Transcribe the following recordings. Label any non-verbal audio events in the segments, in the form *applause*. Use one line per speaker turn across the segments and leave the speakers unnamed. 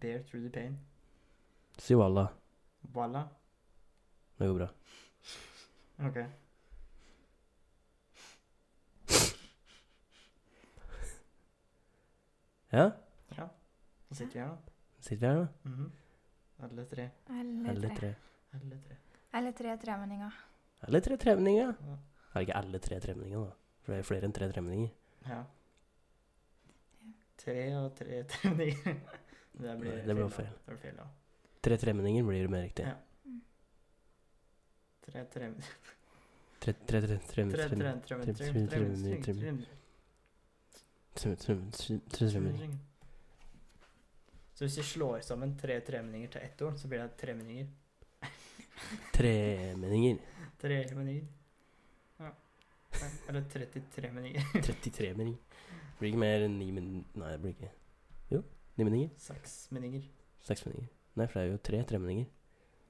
Bear through the pain.
Si walla.
Walla.
Det går bra.
Ok.
*laughs* Ja,
Da sitter vi her, da.
sitter vi her nå?
Mhm. Alle tre.
Alle
Alle tre.
tre.
Alle tre.
Alle tre tremenninger.
Alle tre tremninger.
Ja.
Er det ikke alle tre tremninger, da? For det er jo flere enn tre tremninger.
ja. Tre og tre treninger. Det blir
Nei, det blir feil.
da. Det blir feil, ja.
Tre tremninger blir mer riktig.
Ja. Tre trem...
Tre, tre, tre, trem,
Tre
trem,
trem... Trem... Trem...
trem-
Trem...
trem- trem-
Trem...
trem-
Trem...
trem- trem- tre tremninger.
Tremninger. Så hvis vi slår sammen tre tremenninger til ett ord, så blir det tremenninger.
Tremenninger.
Tremenninger. Ja. Ja, Eller 33 menninger.
33 meninger. Blir ikke mer enn ni men... Nei, det blir ikke Jo, ni meninger.
Seks menninger.
Seks meninger. Nei, for det er jo tre tremenninger.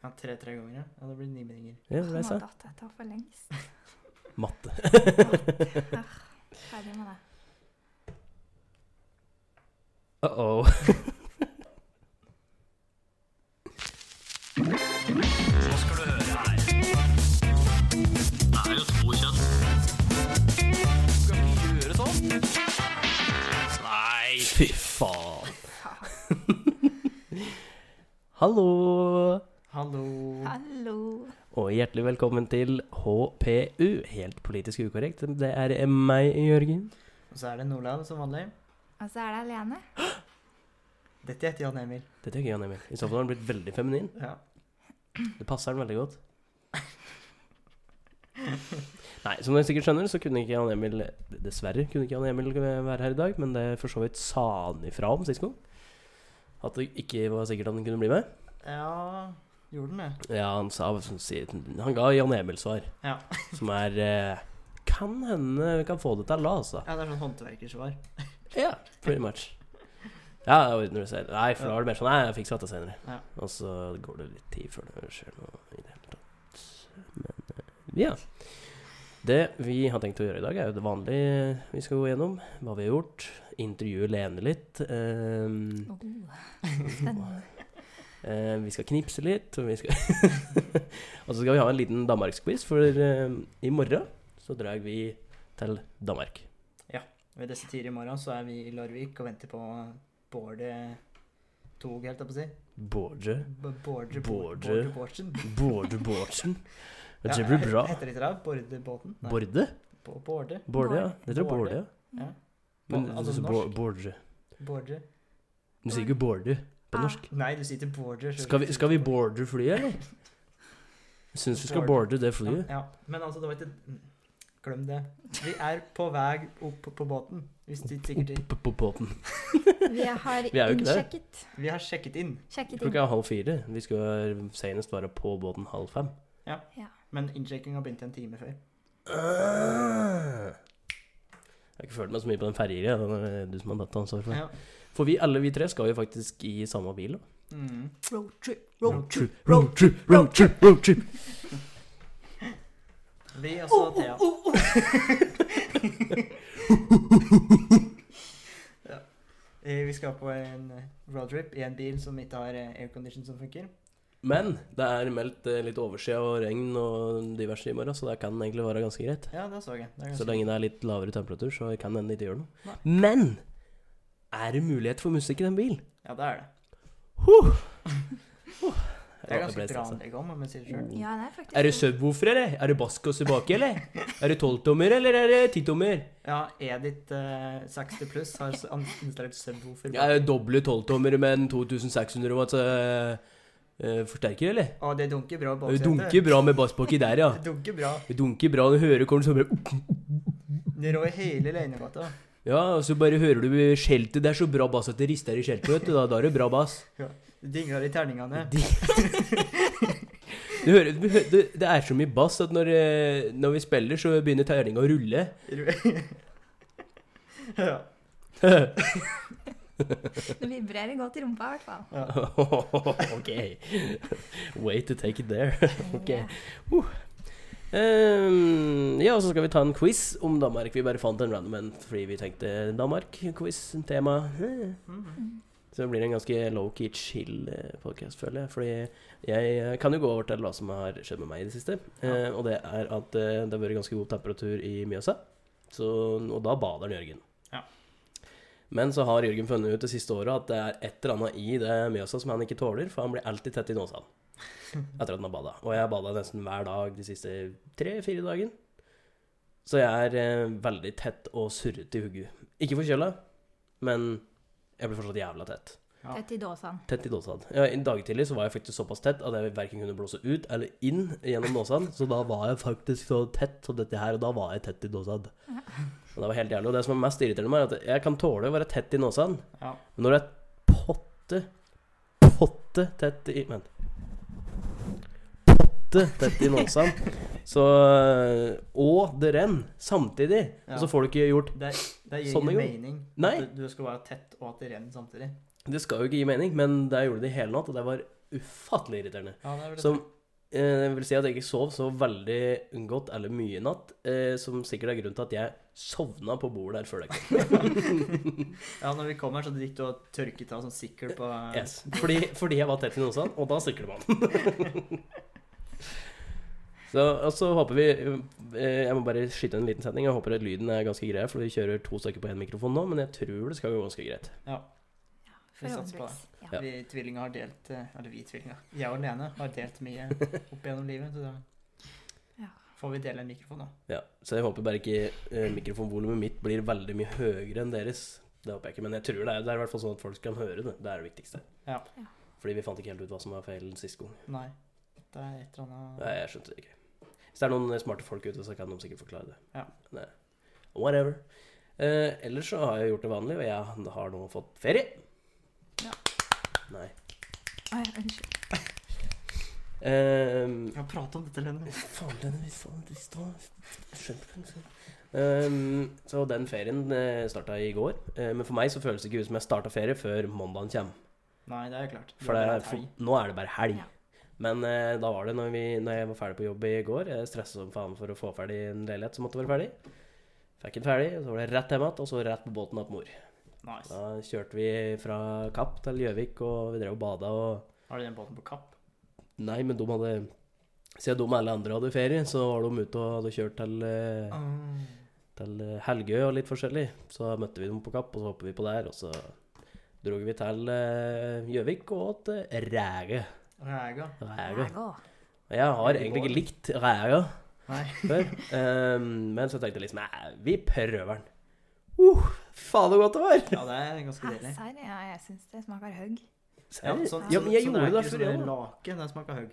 Ja, tre tre ganger, ja. Ja, det blir ni menninger.
Ja, det
Han
er
har
det jeg sa.
datt etter for
*laughs*
lengst.
Matte.
Ferdig med det.
Uh-oh. Nei, fy faen. Hallo,
Hallo.
Hallo.
og hjertelig velkommen til HPU, helt politisk ukorrekt. Det er meg, Jørgen.
Og så er det Nordland som vanlig.
Og så er det Lene.
Dette heter Jan Emil.
Dette er ikke Jan Emil. I så fall har han blitt veldig feminin.
Ja.
Det passer den veldig godt. Nei, som dere sikkert skjønner, så kunne ikke Jan Emil Dessverre kunne ikke Jan Emil være her i dag, men det for så vidt sa han ifra om sist gang. At det ikke var sikkert at han kunne bli med.
ja Gjorde den det?
Ja, han sa sånn, si- Han ga Jan Emil svar,
Ja.
som er eh, Kan hende vi kan få det til, da, altså.
Ja, det er sånn håndverkersvar.
Ja, pretty much. Ja, jeg ordner det selv. Nei, for da var det mer sånn Nei, jeg fikser dette senere.
Ja.
Og så går det litt tid før det skjer noe i det hele tatt. Men eh, ja. Det vi har tenkt å gjøre i dag, er jo det vanlige vi skal gå gjennom. Hva vi har gjort. Intervjue Lene litt. ehm,
Oh, spennende.
eh, vi skal knipse litt. Og, vi skal *laughs* og så skal vi ha en liten Danmarksquiz, for ehm, i morgen så drar vi til Danmark.
Ved disse tider i morgen så er vi i Larvik og venter på Bårde Tog, helt jeg på å si.
Bårde
B- Bårde
Bårde.
Bårde Bårdsen.
Bårde Bårdsen.
Ja,
Det blir
*laughs*
bra.
Heter det ikke det? Bordebåten? Nei,
Borde?
Bo- Bårde.
Borde, ja. Det tror jeg
Borde.
Borde, ja.
Ja.
Men
Altså,
du sier
norsk.
Borde.
Bårde.
Du sier ikke Borde på
Ah.
norsk.
Nei, du sier til Bårde. så-
Skal vi, skal vi boarde flyet, *laughs* eller? Jeg syns vi skal boarde det flyet.
Ja, men altså, det var ikke mm, Glem det. Vi er på vei opp på båten. Hvis du sikkert
Opp på båten.
Vi har
Vi er jo ikke der.
innsjekket.
Vi har sjekket inn,
Sjekket inn.
Klokka er halv fire. Vi skal senest være på båten halv fem.
men innsjekkinga begynte en time før.
Jeg har ikke følt meg så mye på den ferja. Det er du som har dette ansvaret for.
Ja.
For vi alle vi tre skal jo faktisk i samme bil. da.
Mm.
Roadtrip.
Roadtrip, roadtrip, roadtrip, roadtrip.
Vi også og Thea. ja. Eh, Vi skal på en eh, roadtrip i en bil som ikke har eh, aircondition som funker.
Men det er meldt eh, litt overskya og regn og diverse i morgen, så det kan egentlig være ganske greit.
Ja, det så jeg. Det er
Så
ganske-
lenge det er litt lavere temperatur, så kan den ikke gjøre noe.
Nei.
Men er det mulighet for musikk i den bilen?
Ja, det er det.
Huh! Huh.
Det er
Jeg
ganske
ble
bra
stresset.
anlegg òg, må jeg si det sjøl.
Ja, det er faktisk
Er det subwoofer, eller? Er det baskos i baki, eller? Er det tolvtommer, eller er det titommer?
Ja, Edith eh, 60 pluss har s- an- installert subwoofer.
Ja, er det doble tolvtommer med en 2600 watts eh, eh, forsterker, eller?
Og det dunker bra i
Det
baksetet.
dunker bra med bass baki der, ja.
Det dunker bra.
Det dunker bra, du hører korn som bare
Det rår i hele Leinegata.
Ja, og så bare hører du skjeltet. Det er så bra bass at det rister i skjeltet, vet du. Da, da er det bra bass.
Det dingler i
*laughs*
terningene.
De... Du hører, du hø- det, det er så mye bass at når, eh, når vi spiller, så begynner terninga å rulle. *laughs*
*laughs* ja.
Det vibrerer godt i rumpa, i hvert fall.
ok. Way to take it there. *laughs* Ok. Ehm, ja, og så skal vi ta en quiz om
Mm.
Danmark. Vi bare fant en random en fordi vi tenkte Danmark-quiz-tema.
Mhm.
Så det blir en ganske low-key chill podkast, føler jeg. Fordi jeg eh, kan jo gå over til hva som har skjedd med meg i det siste. Eh, og det er at eh, det har vært ganske god temperatur i Mjøsa, så, og da bader den Jørgen.
Ja.
Men så har Jørgen funnet ut det siste året at det er et eller annet i det Mjøsa som han ikke tåler, for han blir alltid tett i nåsa etter at han har bada. Og jeg har bada nesten hver dag de siste tre-fire dagene. Så jeg er eh, veldig tett og surrete i hugget. Ikke forkjøla, men jeg blir fortsatt jævla tett.
Ja.
Tett i dåsene.
Tett i dåsene. Ja, I dag tidlig så var jeg faktisk såpass tett at jeg verken kunne blåse ut eller inn gjennom dåsene. Så da var jeg faktisk så tett som dette her, og da var jeg tett i dåsene. Og det var helt jævlig. Og det som er mest irriterende med meg, er at jeg kan tåle å være tett i nåsene,
Ja.
men når det er potte Potte tett i Men Potte tett i
*laughs*
nåsene, så Og det renner samtidig. Og
Ja.
så får du ikke gjort
Det, det gir
Sånn
ingen
det går.
mening. at
Nei.
Du, du skal være tett, og at det renner samtidig.
Det skal jo ikke gi mening, men det gjorde det i hele natt, og det var ufattelig irriterende.
Ja, det er vel det.
*laughs* Som eh, vil si at jeg ikke sov så veldig godt eller mye i natt, eh, som sikkert er grunnen til at jeg sovna på bordet der før deg.
ja, når vi kom her, så gikk du og tørket av sånn sikkel på
Yes. Fordi, fordi jeg var tett i nosene, og da sikler man. *laughs* Så, og så håper vi eh, Jeg må bare skyte en liten setning. Jeg håper at lyden er ganske grei, for vi kjører to stykker på én mikrofon nå, men jeg tror det skal gå ganske greit.
Vi satser på det.
Forhåpentligvis. Ja.
Vi tvillinger har delt eh, Eller vi tvillinger. Jeg og Lene har delt mye opp gjennom livet. Så da
Ja.
får vi dele en mikrofon, da.
Ja, så jeg håper bare ikke eh, mikrofonvolumet mitt blir veldig mye høyere enn deres. Det håper jeg ikke, men jeg tror det er, det er i hvert fall sånn at folk kan høre det. Det er det viktigste.
Ja.
Ja.
Fordi vi fant ikke helt ut hva som var feil sist gang.
Nei. Det er et eller annet
Nei, jeg skjønte det ikke. Hvis det er noen eh, smarte folk ute, så kan de sikkert forklare det.
Ja.
Nei. Whatever. Eh, ellers så har jeg gjort det vanlig, og jeg har nå fått ferie.
Ja.
Nei.
Oi, unnskyld.
Ehm,
Vi har pratet om dette, Lene.
Faen, den vi faen, de står Skjønner du hva Um, så den ferien uh, starta i går. Eh, men for meg så føles det ikke ut som jeg starta ferie før mandagen kommer.
Nei, det er jo klart.
For, det, er- for nå er det bare helg.
Ja.
Men eh, da var det når, vi, når jeg var ferdig på jobb i går. Jeg stressa som faen for å få ferdig en leilighet som måtte være ferdig. Fikk den ferdig, så var det rett hjem igjen, og så rett på båten opp mor.
Nice.
Da kjørte vi fra Kapp til Gjøvik, og vi drev og bada og
Har du den båten på kapp?
Nei, men de hadde Siden de alle andre hadde ferie, så var de ute og hadde kjørt til, eh,
Mm.
til eh, Helgøy og litt forskjellig. Så møtte vi dem på Kapp, og så hoppet vi på der, og så dro vi til eh, Gjøvik og til Ræge.
Ræga?
Ræge.
Jeg går.
Jeg har egentlig ikke likt Ræge
Nei.
*laughs* før, eh, men så tenkte jeg liksom Nei, vi prøver den. Uh, faen så godt det var!
Ja, det er ganske deilig.
Serr, Ah, ja, jeg syns det smaker høgg.
Ja,
Seriøst?
sånn,
Ja,
sånn-
men jeg
sånn
gjorde det
reker
før,
som
jeg
er
òg.
Lake, den smaker høg.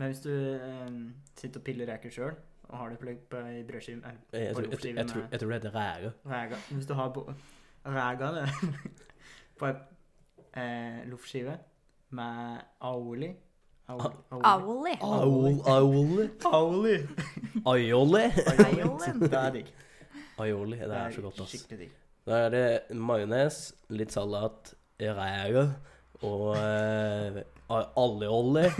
Men hvis du eh, sitter og piller reker sjøl, og har det plugg på i brødskiven eller
Jeg, tror- jeg, tror- jeg, tror- jeg tror det heter Ræge.
ræga Hvis du har bo- ræga det, *laughs* på ei eh, loffskive med aoli
Ah.
Aoli. aoli.
Auli.
Aol, aole,
Aoli.
aiole.
Aiolen.
Det er digg.
Aioli, det er så godt, ass.
Skikkelig digg.
Da er det majones, litt salat, rære og eh, oljeolje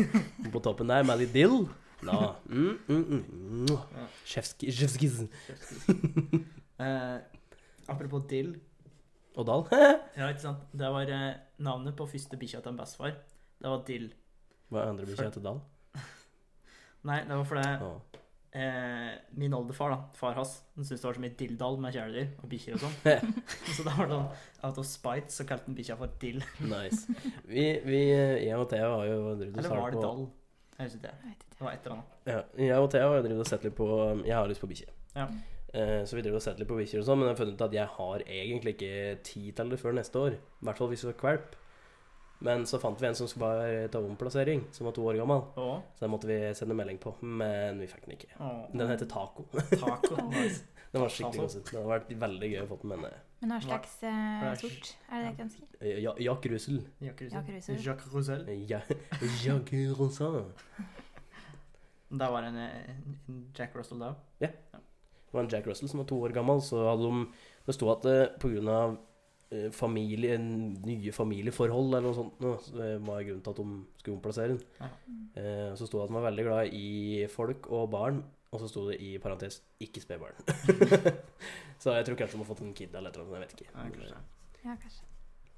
på toppen der med litt dill. Da, mm, mm, mm, mm. Chefski- chefskis. *laughs*
Eh, apropos dill.
Og dal. *laughs*
Ja, ikke sant? Det var eh, navnet på første bikkja til en bestefar. Det var dill.
Hva er andre bikkja til dal?
Nei, det var fordi
Å,
eh, min oldefar, da, far hans, han syntes det var så mye dilldall med kjæledyr og bikkjer og sånn. *laughs* så da var det sånn out of spite så kalte han bikkja for dill.
nice. Vi, vi, eh, jeg og Thea har jo drevet og
Eller var
sett
det
på
dall? Jeg husker ikke.
Jeg vet ikke.
Det var et eller annet.
ja, Jeg og Thea har drevet og sett litt på um, Jeg har lyst på bikkje.
Ja.
Eh, Så vi driver og setter litt på bikkjer og sånn, men jeg har funnet ut at jeg har egentlig ikke tid til det før neste år. I hvert fall hvis vi har kvalp. Men så fant vi en som skulle være ta omplassering, som var to år gammel.
Og
Så den måtte vi sende melding på, men vi fikk den ikke.
Åh.
Den heter Taco. *laughs*
taco. *laughs* Nice.
Den var skikkelig god. Det hadde vært veldig gøy å få den, men eh,
Men hva slags eh,
Hva er-
sort er det jeg ønsker?
Ja- Jack Russell.
Jacques Russell. Jacques
Jacques Russell.
Russell.
Ja, *laughs* Jack Russell.
Det var en, eh, en Jack Russell da.
Det var en Jack Russell som var to år gammel, så hadde de, det sto at eh, på grunn av eh, familie, nye familieforhold eller noe sånt, nå, så det var grunnen til at de skulle omplassere den.
Ja.
Mm.
Eh, Så sto det at de var veldig glad i folk og barn, og så sto det i parentes 'ikke *laughs* spedbarn'. så jeg tror kanskje de har fått en kid eller et eller annet, jeg vet ikke.
Ja, kanskje.
Ja, kanskje.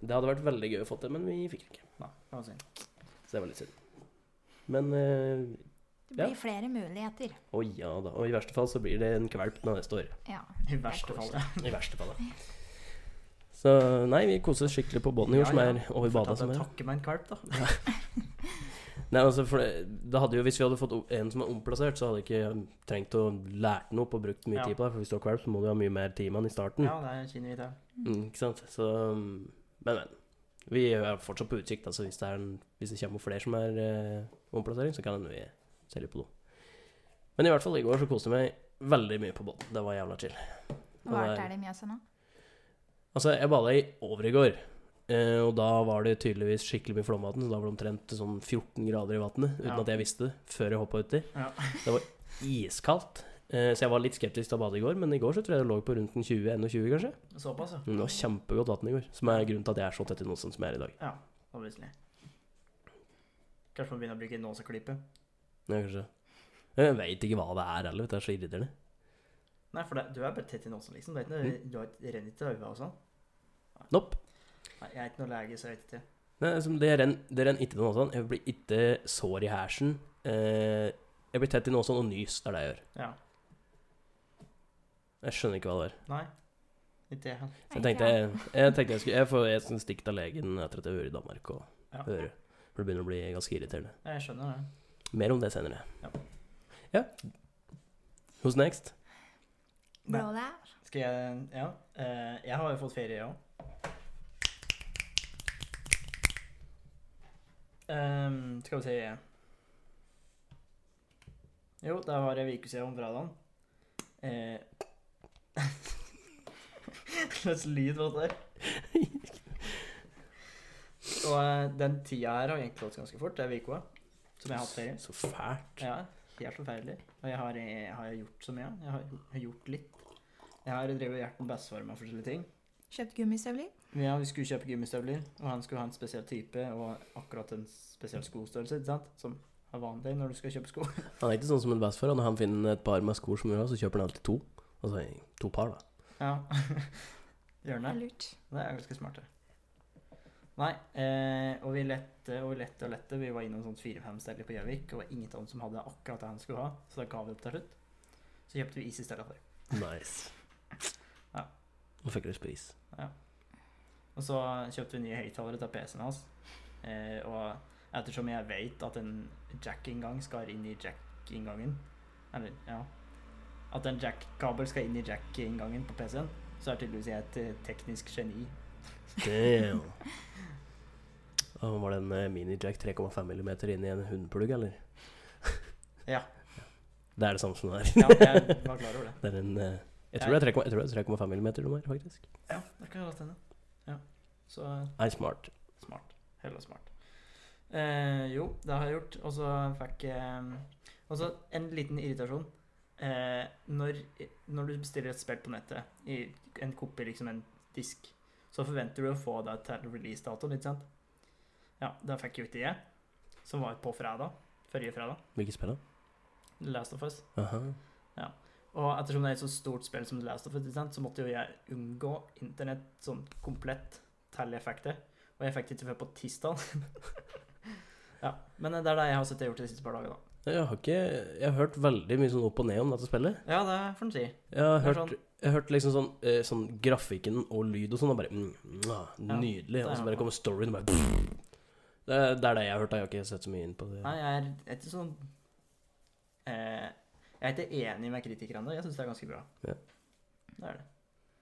Det hadde vært veldig gøy å få til, men vi fikk det ikke.
Nei, det var synd.
Så det var litt synd. Men eh,
Det blir
Ja.
flere muligheter.
å ja da. Og i verste fall så blir det en kvalp nå neste år.
Ja.
I verste fall, ja.
I verste fall, da. Så nei, vi koser oss skikkelig på Bonnie,
Ja,
ja, som
ja.
er og i bada som er.
Takke meg en kvalp, da.
Nei, altså, for det, det hadde jo, Hvis vi hadde fått o- en som er omplassert, så hadde jeg ikke trengt å lært noe opp og brukt mye
Ja.
tid på det. For hvis du har kvalp, så må du ha mye mer tid med den i starten.
Ja, det kjenner vi til.
Mm, ikke sant? Så, um, men, men. Vi er fortsatt på utkikk, da, så hvis det, er en, hvis det kommer flere som er eh, omplassering, så kan hende vi selger på do. Men i hvert fall i går så koste jeg meg veldig mye på båten. Det var jævla chill. Og
Hva
det er-
er det i Mjøsa nå?
Altså, jeg bada i over i går. eh, og da var det tydeligvis skikkelig mye flomvann, så da var det omtrent sånn 14 grader i vannet uten
Ja.
at jeg visste det, før jeg hoppa uti.
Ja.
*laughs* Det var iskaldt. Eh, så jeg var litt skeptisk til å bade i går, men i går så tror jeg det lå på rundt en 20-21, kanskje.
Såpass, ja.
Mm, Det var kjempegodt vann i går, som er grunnen til at jeg er så tett i nosen som jeg er i dag.
Obviously. Kanskje man begynner å bruke nåseklype.
Ja, kanskje. Jeg veit ikke hva det er heller, vet du, det er så irriterende.
Nei, for det, du er bare tett i nåsen, liksom. Det er ikke noe, du har ikke renner ikke til øynene og sånn.
Nopp.
Nei, jeg er ikke noe lege, så jeg vet ikke.
Nei, altså, Det renner det renner ikke til noe sånt. sånn. Jeg blir ikke sår i hersen. Eh, jeg blir tett i noe sånt og nys, det er det jeg gjør.
Ja.
Jeg skjønner ikke hva det er.
Nei. Ikke jeg heller.
Så jeg tenkte jeg, jeg, tenkte jeg skulle jeg får jeg skal stikke til legen etter at jeg hører i Danmark og
Ja.
hører. For det begynner å bli ganske irriterende.
Jeg skjønner det.
Mer om det senere.
Ja.
Ja. Who's next?
Blå der.
Skal jeg Ja. eh, jeg har jo fått ferie, jeg òg. Ehm, skal vi se Jo, det var ei uke siden om fredagen. Eh, *laughs* Slags lyd var det der. Og eh, den tida her har egentlig gått ganske fort. Det er uka som jeg har hatt ferie.
Så fælt.
Ja, helt forferdelig. Og jeg har, jeg har gjort så mye. Jeg har, jeg har gjort litt. Jeg har drevet og hjulpet bestefar med forskjellige ting.
Kjøpt gummistøvler.
Ja, vi skulle kjøpe gummistøvler, og han skulle ha en spesiell type og akkurat en spesiell skostørrelse, ikke sant? Som er vanlig når du skal kjøpe sko.
Han er ikke sånn som en bestefar. Når han finner et par med sko som vi har, så kjøper han alltid to. Altså to par, da.
*laughs* Ja. Gjør
Det
det.
er lurt.
Det er ganske smart, det. Nei, eh, og vi lette og lette og lette. Vi var innom sånn fire-fem steder på Gjøvik, og det var ingen av dem som hadde akkurat det han skulle ha, så da ga vi opp til slutt. Så kjøpte vi is i stedet for.
Nice.
Ja.
Nå fikk jeg lyst på is.
Og så kjøpte vi nye høyttalere til PC-en hans. Eh, og ettersom jeg vet at en jack-inngang skal inn i jack-inngangen Eller, ja At en jack-kabel skal inn i jack-inngangen på PC-en, så er tydeligvis jeg et eh, teknisk geni.
Damn. *laughs* Og var det en eh, mini-jack 3,5 mm inn i en hundplugg, eller?
Ja.
Det er det samme som det er.
Ja, jeg var klar over det.
Det er en eh, Jeg tror det er 3,5 jeg tror det er 3,5 millimeter de har, faktisk.
Ja, det kan godt hende. Ja. Så eh,
Nei, smart.
smart. Hella smart. Eh, jo, det har jeg gjort. Og så fikk jeg eh, Og så en liten irritasjon. Eh, når, når du bestiller et spill på nettet, i en kopi, liksom en disk, så forventer du å få det til releasedatoen, ikke sant? Ja, det fikk jeg jo ikke jeg, som var på fredag. Forrige fredag.
Hvilket spill, da?
The Last of Us.
Aha.
Og ettersom det er et så stort spill som The Last of Us, ikke sant, så måtte jo jeg unngå internett sånn komplett til jeg fikk det. Og jeg fikk det ikke før på tirsdag. *laughs* ja, men det er det jeg har sett jeg har gjort de siste par dagene, da.
Jeg har ikke Jeg har hørt veldig mye sånn opp og ned om dette spillet.
Ja, det får en si.
Jeg har
Det er
hørt, jeg har hørt liksom sånn, eh, sånn grafikken og lyd og sånn, og bare mm, mwah,
Ja,
Nydelig.
det
Og
er
så bare
noe.
kommer storyen, og bare pff. det, er- det er det jeg har hørt. Jeg har ikke sett så mye inn på det.
Nei, jeg er ikke sånn eh, Jeg er ikke enig med kritikerne. Jeg syns det er ganske bra.
Ja.
Det er det.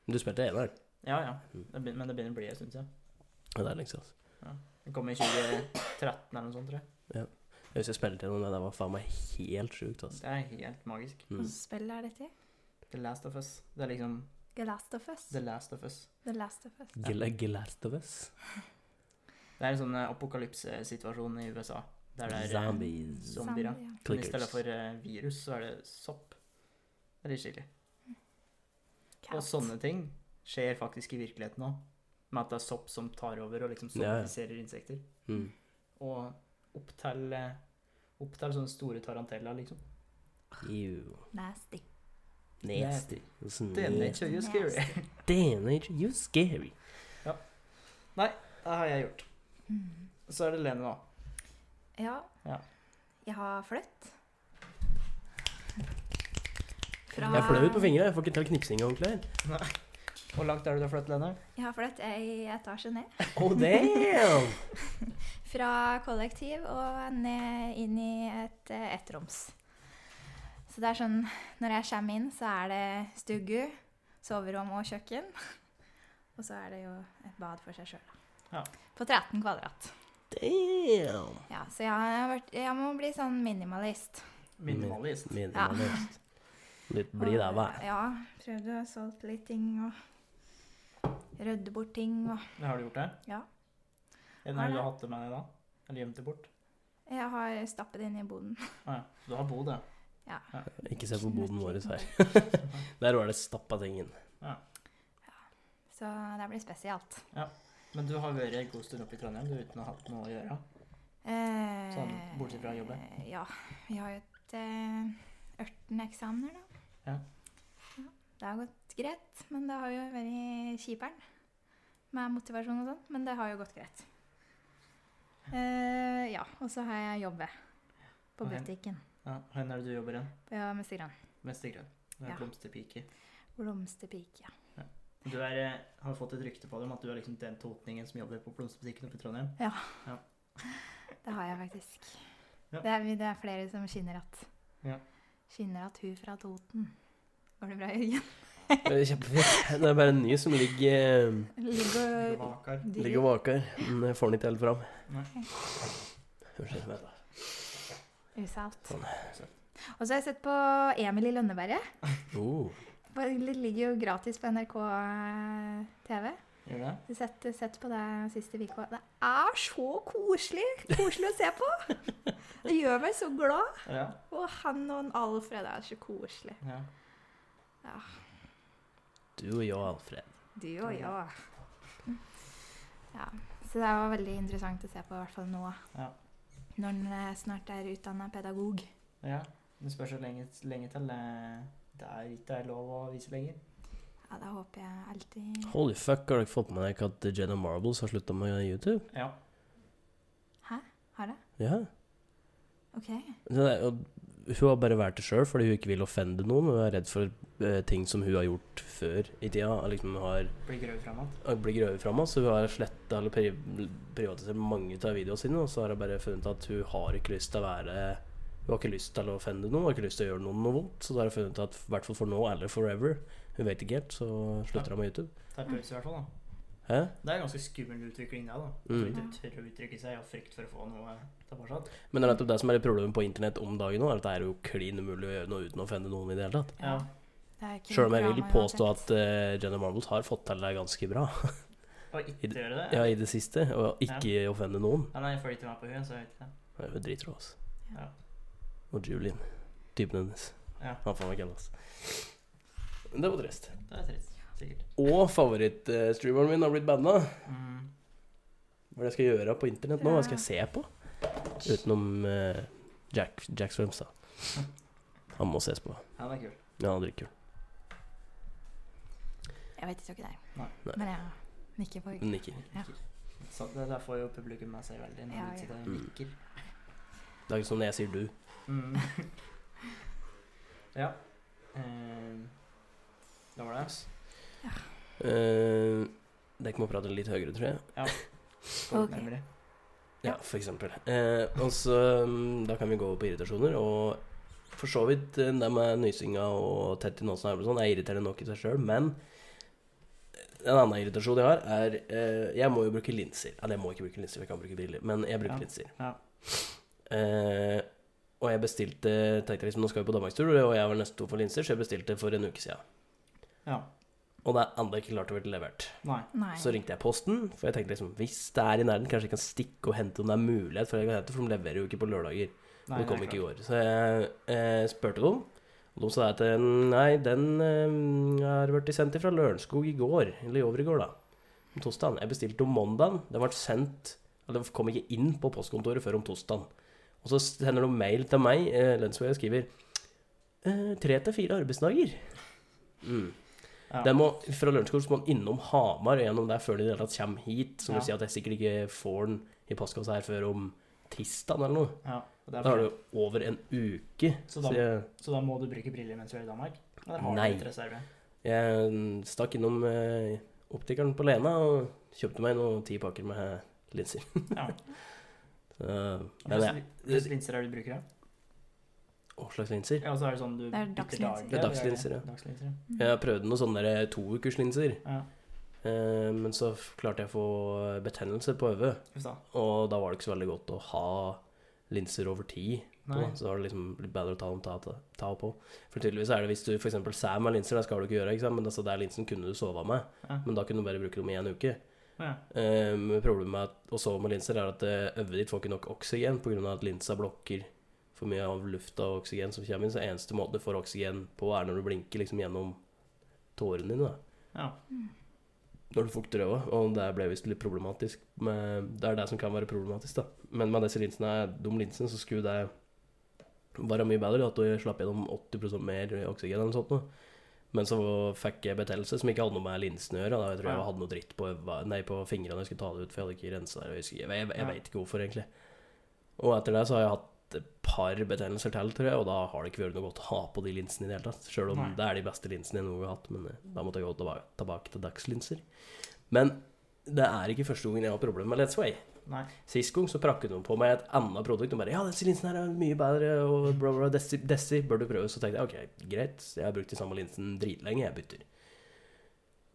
Men du spilte eneren.
Ja, ja. Det begynner, men det begynner å bli en stund siden.
Ja, det er lenge siden. altså.
Det kom i 2013 eller noe sånt, tror jeg.
Jeg husker jeg spilte gjennom det. Det var faen meg helt sjukt, altså.
Det er helt magisk.
Hva
Mm.
slags spill er dette?
The Last of Us. Det er liksom
The Last of Us.
The Last of Us.
The Last of Us.
Gil- Gilastevus.
Det er en sånn eh, apokalypsesituasjon i USA. Der det er eh,
Zombies.
zombier. ja.
Zombie, ja.
Men i stedet
Clickers.
for eh, virus, så er det sopp. Eller chili. Og
Cat.
sånne ting skjer faktisk i virkeligheten òg. Med at det er sopp som tar over og liksom
Ja, ja.
zombifiserer insekter.
Mm.
Og opp til, eh, opp til sånne store taranteller, liksom.
Ew.
Nasty.
Nasty. Sånn
Det er
Nasty.
nature, you're scary.
Damn, you scary.
Nei, *laughs* Det har jeg gjort. Så er det Lene nå.
Mm. Ja.
Ja.
Jeg har fløtt. Fra-
Jeg er flau på fingrene. Jeg får ikke til knipsing ordentlig. her.
Hvor langt er det du har flyttet, Lene?
Jeg har fløtt ei etasje ned.
Oh, damn!
Fra kollektiv og ned inn i et eh, ettroms. Så det er sånn Når jeg kommer inn, så er det stugu, soverom og kjøkken. *laughs* Og så er det jo et bad for seg sjøl.
Ja.
På 13 kvadrat.
Damn!
Ja, så jeg, har vært, jeg må bli sånn minimalist.
Minimalist.
Minimalist. Litt bli der, hva?
Og- Ja. Prøvde å solge litt ting og rydde bort ting og
Har du gjort det?
Ja.
Er det noe
Har det.
du har hatt det med deg da? Eller gjemt det bort?
Jeg har stappet det inn i boden.
Ah, ja. Så du har bodd, ja.
Ikke se på boden vår her. Der var det stappa ting inn.
*laughs* Så det blir spesielt.
Men du har vært en god stund oppe i Trondheim du, uten å ha hatt noe å gjøre.
Eh,
Sånn, bortsett fra jobben.
Ja. Vi har jo et eh, 18 eksamener, da.
Ja.
Ja, Det har gått greit, men det har jo vært kjiperen med motivasjon og sånn. Men det har jo gått greit. Eh, ja. Og så har jeg jobbet på
Og hen-
butikken.
Ja. Hvor er det du jobber igjen?
Ja, med Sigran.
Mestergrønn. Du er
Ja.
blomsterpike.
Blomsterpike. ja.
Du er, eh, har fått et rykte på deg om at du er liksom den totningen som jobber på blomsterbutikken oppe i Trondheim.
Det har jeg faktisk.
Ja.
Det, er, det er flere som skinner at.
Ja.
Skinner at hun fra Toten. Går det bra, Jørgen?
Det er Kjempefint. Det er bare en ny som ligger,
Ligger og
Vakar.
ligger og vaker. Men jeg får den ikke helt fram.
Nei.
Unnskyld meg, da.
Usalt.
Sånn.
Og så har jeg sett på Emil i Lønneberget.
Oh,
For Det ligger jo gratis på NRK eh, TV.
Gjør du det?
Du sett, sett på det siste uka. Det er så koselig! Koselig å se på! Det gjør meg så glad.
Ja.
Og han og en Alfred det er så koselig.
ja.
du og jeg, Alfred.
Du og jeg. Ja, så det var veldig interessant å se på, i hvert fall nå.
Ja.
Når en eh, snart er utdanna pedagog.
ja. Det spørs hvor lenge, lenge til eh, det er ikke er lov å vise lenger.
Ja, da håper jeg alltid
Holy fuck, har dere fått med dere at Jenna Marbles har slutta med YouTube?
Ja.
har det.
Ja.
OK.
Det er, og hun har bare vært det sjøl fordi hun ikke vil offende noen. Hun er redd for eh, ting som hun har gjort før i tida. og Liksom har
Blir grøv fram igjen.
har blitt grøvet fram, så hun har sletta eller pri privatisert mange av videoene sine. Og så har hun bare funnet at hun har ikke lyst til å være Hun har ikke lyst til å offende noen, hun har ikke lyst til å gjøre noen noe vondt. Så da har hun funnet at i hvert fall for nå eller forever, hun vet ikke helt, så slutter hun med YouTube.
Tar pause i hvert fall, da.
Hæ?
Det er en ganske skummel utvikling det, da. At du
Mm.
ikke tør å uttrykke seg av frykt for å få noe tilbake.
Men det er nettopp det som er problemet på internett om dagen nå, er at det er jo klin umulig å gjøre noe uten å offende noen i det hele tatt.
Ja.
Det er ikke
Sjøl om jeg
bra
vil
med
påstå
uansett.
at eh, Jenna Marbles har fått til det ganske bra.
Og ikke gjøre det.
*laughs* Ja, i det siste. Og ikke offende noen.
Ja, nei, jeg følger ikke med på hun, så jeg vet ikke det.
Det er jo dritrå, altså.
Ja.
Og Julian. Typen hennes.
Ja.
Han faen meg kalles. Det var trist.
Det er trist. Sikkert.
Og favorittstreameren min har blitt banna.
Mm.
Hva er det jeg skal gjøre på internett nå? Hva skal jeg se på? Utenom eh, Jack, Jack Swims, da. Han må ses på.
Ja, den er kul.
Ja, han drikker jo.
Jeg vet ikke hva det er.
Nei.
Nei.
Men jeg nikker på
Men ikke.
Ja.
Så det der får jo publikum med seg veldig når
Ja,
du sitter
ja.
og nikker.
Det er ikke som når jeg sier du.
Mm. *laughs* ja. Ehm, da var det.
Eh, dere må prate litt høyere, tror jeg.
Skål,
Ok.
nærmere.
Ja, for eksempel. Eh, og så mm, Da kan vi gå på irritasjoner. Og for så vidt eh, det med nysinga og tett i nåsen og sånn er irriterende nok i seg sjøl, men eh, en annen irritasjon jeg har, er eh, Jeg må jo bruke linser. Eller jeg må ikke bruke linser, jeg kan bruke briller, men jeg bruker
Ja,
linser.
ja.
Eh, og jeg bestilte tenkte liksom, Nå skal vi på danmarkstur, og jeg var nesten tom for linser, så jeg bestilte for en uke siden.
Ja.
Og det er ennå ikke klart å bli levert.
Nei.
Nei.
Mm. Så ringte jeg posten, for jeg tenkte liksom hvis det er i nærheten, kanskje jeg kan stikke og hente om det er mulighet for jeg kan hente, for de leverer jo ikke på lørdager.
Nei
og det kom
er
ikke i
klart.
år. Så jeg eh, spurte dem, og de sa at eh, nei, den eh, har vært sendt fra Lørenskog i går, eller i overgår, da. Om torsdagen. Jeg bestilte om mandagen. Den ble sendt eller Den kom ikke inn på postkontoret før om torsdagen. Og så sender de mail til meg, eh, Lønnsvei, og skriver eh, tre til fire arbeidsdager. Mm.
Ja.
De må, fra Lørenskog så må de innom Hamar og gjennom der før de i det hele tatt kommer hit. Som
Ja.
vil si at jeg sikkert ikke får den i postkassa her før om tirsdag eller noe.
Ja, og det er
Da har
for-
det jo over en uke.
Så
Så,
da-
jeg,
Så da må du bruke briller mens du er i Danmark? Ja, det har
Nei.
du et reserve.
jeg stakk innom eh, optikeren på Lena og kjøpte meg noen ti pakker med linser.
Ja.
*laughs* Så, eh, men jeg,
Hvilke linser er det du bruker? da?
hva slags linser?
Ja, og så er det sånn du
Det er
bytter
dagslinser.
dag-
Det er
Ja,
dagslinser, ja.
Dagslinser, ja.
Mm.
Jeg prøvde noen sånne der toukerslinser,
Ja,
eh, men så f- klarte jeg å få betennelse på øyet.
uff da.
Og da var det ikke så veldig godt å ha linser over tid. På,
Nei.
så da var det liksom litt bedre å ta dem ta, ta, ta på. For tydeligvis er det hvis du f.eks. sær med linser, det skal du ikke gjøre, ikke sant? men altså, der linsen kunne du sove med.
Ja.
Men da kunne du bare bruke dem i en uke.
Ja.
Um, problemet med at, å sove med linser er at eh, øyet ditt får ikke nok oksygen pga. at linsa blokker for mye av lufta og oksygen som kommer inn. Så eneste måten du får oksygen på, er når du blinker liksom gjennom tårene dine. da
Ja.
når du fukter øya, og det ble visst litt problematisk. Med, det er det som kan være problematisk, da. Men med disse linsene, de linsene, så skulle det være mye bedre, at du slapp gjennom 80 mer oksygen eller noe sånt. Da. Men så fikk jeg betennelse som ikke hadde noe med linsene å gjøre. Da. Jeg tror
Ja.
jeg hadde noe dritt på, øva- nei, på fingrene når jeg skulle ta det ut, for jeg hadde ikke rensa det. og Jeg, husker- jeg, jeg,
Ja.
jeg veit ikke hvorfor, egentlig. Og etter det så har jeg hatt et par betennelser til, tror jeg, og da har det ikke vært noe godt å ha på de linsene i det hele tatt. Sjøl om
Nei.
det er de beste linsene jeg noen gang har hatt, men eh, da måtte jeg gå tilba- tilbake til dagslinser. Men det er ikke første gangen jeg har problemer med Let's Way.
Nei.
Sist gang så prakket noen på meg et annet produkt. Og bare 'Ja, disse linsene her er mye bedre', og bla, bla, Desi, Desi, bør du prøve? Så tenkte jeg OK, greit, jeg har brukt de samme linsene dritlenge, jeg bytter.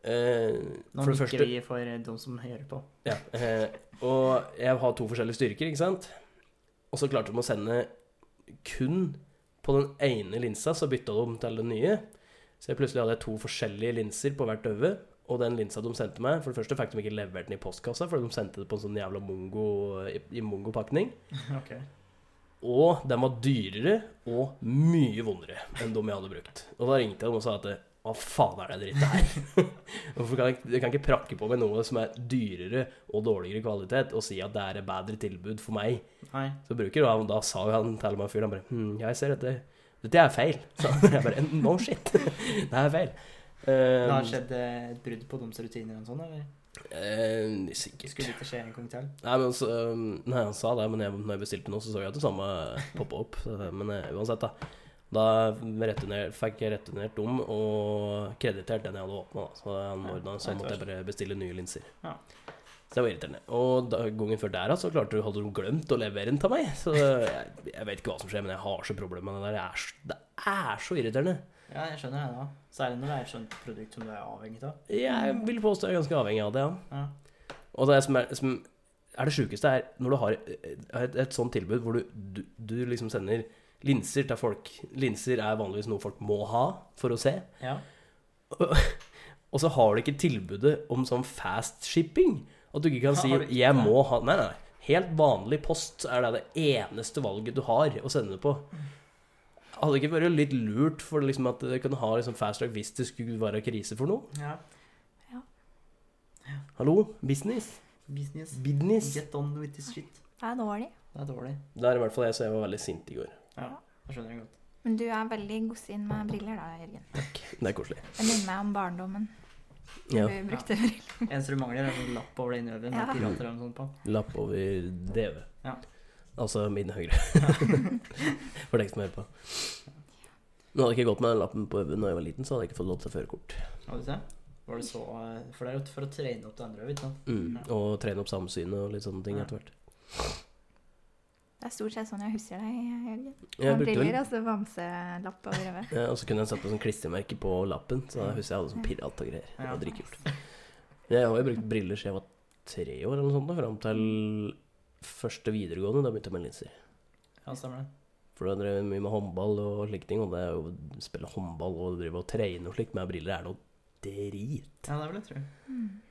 Eh,
Nå
for det
nikker
første
vi for eh, de som hører på.
ja, eh, og jeg har to forskjellige styrker, ikke sant? Og så klarte de å sende kun på den ene linsa, så bytta de til den nye. Så jeg plutselig hadde jeg to forskjellige linser på hvert øye. Og den linsa de sendte meg For det første fikk de ikke levert den i postkassa, for de sendte det på en sånn jævla mongo i, i mongopakning.
Ok.
Og den var dyrere og mye vondere enn de jeg hadde brukt. Og da ringte jeg dem og sa at hva faen er det drittet her? Hvorfor kan jeg, jeg kan ikke prakke på meg noe som er dyrere og dårligere kvalitet, og si at det er et bedre tilbud for meg?
Nei.
Så bruker du han, da sa jo han til meg fyren, han bare hm, jeg ser dette, dette er feil. *laughs* Så jeg bare no shit, *laughs* det er feil.
Det har
Um,
skjedd eh, et brudd på deres rutiner og sånn, eller?
eh, sikkert.
Skulle det ikke skje en gang til?
Nei, men så, øhm, nei, han sa det, men jeg, når jeg bestilte noe, så så jeg at det samme poppa opp. Så, Men eh, uansett, da. Da returner, fikk jeg returnert om og kreditert den jeg hadde åpna. Så han
Ja,
ordna,
det
så
er
måtte jeg bare bestille nye linser.
Ja.
Så det var irriterende. Og da, gangen før der da, så klarte, hadde de glemt å levere den til meg. Så jeg, jeg vet ikke hva som skjer, men jeg har så problemer med det der. Jeg er, så- det er så irriterende.
Ja, jeg skjønner det da. Særlig når det er et sånt produkt som du er avhengig av.
Jeg
Mm.
vil påstå jeg er ganske avhengig av det, ja.
Ja.
Og det som er, som er det sjukeste, er når du har eh, et, et sånt tilbud hvor du, du, du liksom sender linser til folk. Linser er vanligvis noe folk må ha for å se. *laughs*
Ja.
Og, og så har du ikke tilbudet om sånn fast shipping. At du ikke kan
Ha,
si
har du ikke
'jeg
det?
må ha Nei, nei. Helt vanlig post er det det eneste valget du har å sende det på. Hadde det ikke vært litt lurt for liksom at du kunne ha liksom fast track hvis det skulle være krise for noe?
ja.
Hallo? Business?
Business.
Business?
Get on with this shit.
Det er dårlig.
Det er dårlig.
Det er i hvert fall jeg, så jeg var veldig sint i går.
Det skjønner jeg godt.
Men du er veldig godsinn med briller da, Jørgen.
Det er koselig.
Det minner meg om barndommen.
Ja.
Du brukte briller.
Eneste du mangler, er en sånn lapp over det innøvet med
Ja.
pirater eller noe sånt på.
Lapp over DV.
Ja.
Altså min høyre. *laughs* For deg som hører på. Men hadde jeg ikke gått med den lappen på øven da jeg var liten, så hadde jeg ikke fått lov til førerkort.
Har du sett? Var det så eh, For det er jo for å trene opp det andre øyet, ikke sant?
Mm.
Ja.
Og trene opp samsynet og litt sånne ting
Ja.
etter hvert.
Det er stort sett sånn jeg husker deg, Jørgen.
Jeg
Med
brukte
briller
vel
og så altså, bamselapp over øyet.
ja, Og så kunne jeg satt på sånn klistremerke på lappen, så jeg husker jeg hadde sånn pirat og greier. Det
Ja.
var dritkult. Jeg har jo brukt briller siden jeg var tre år eller noe sånt, da, fram til første videregående. Da begynte jeg med linser.
Ja, stemmer det.
For da drev jeg mye med håndball og slike ting, og det er jo spille håndball og drive og trene og slikt med briller er noe drit.
Ja, det vil jeg tro.
Mm.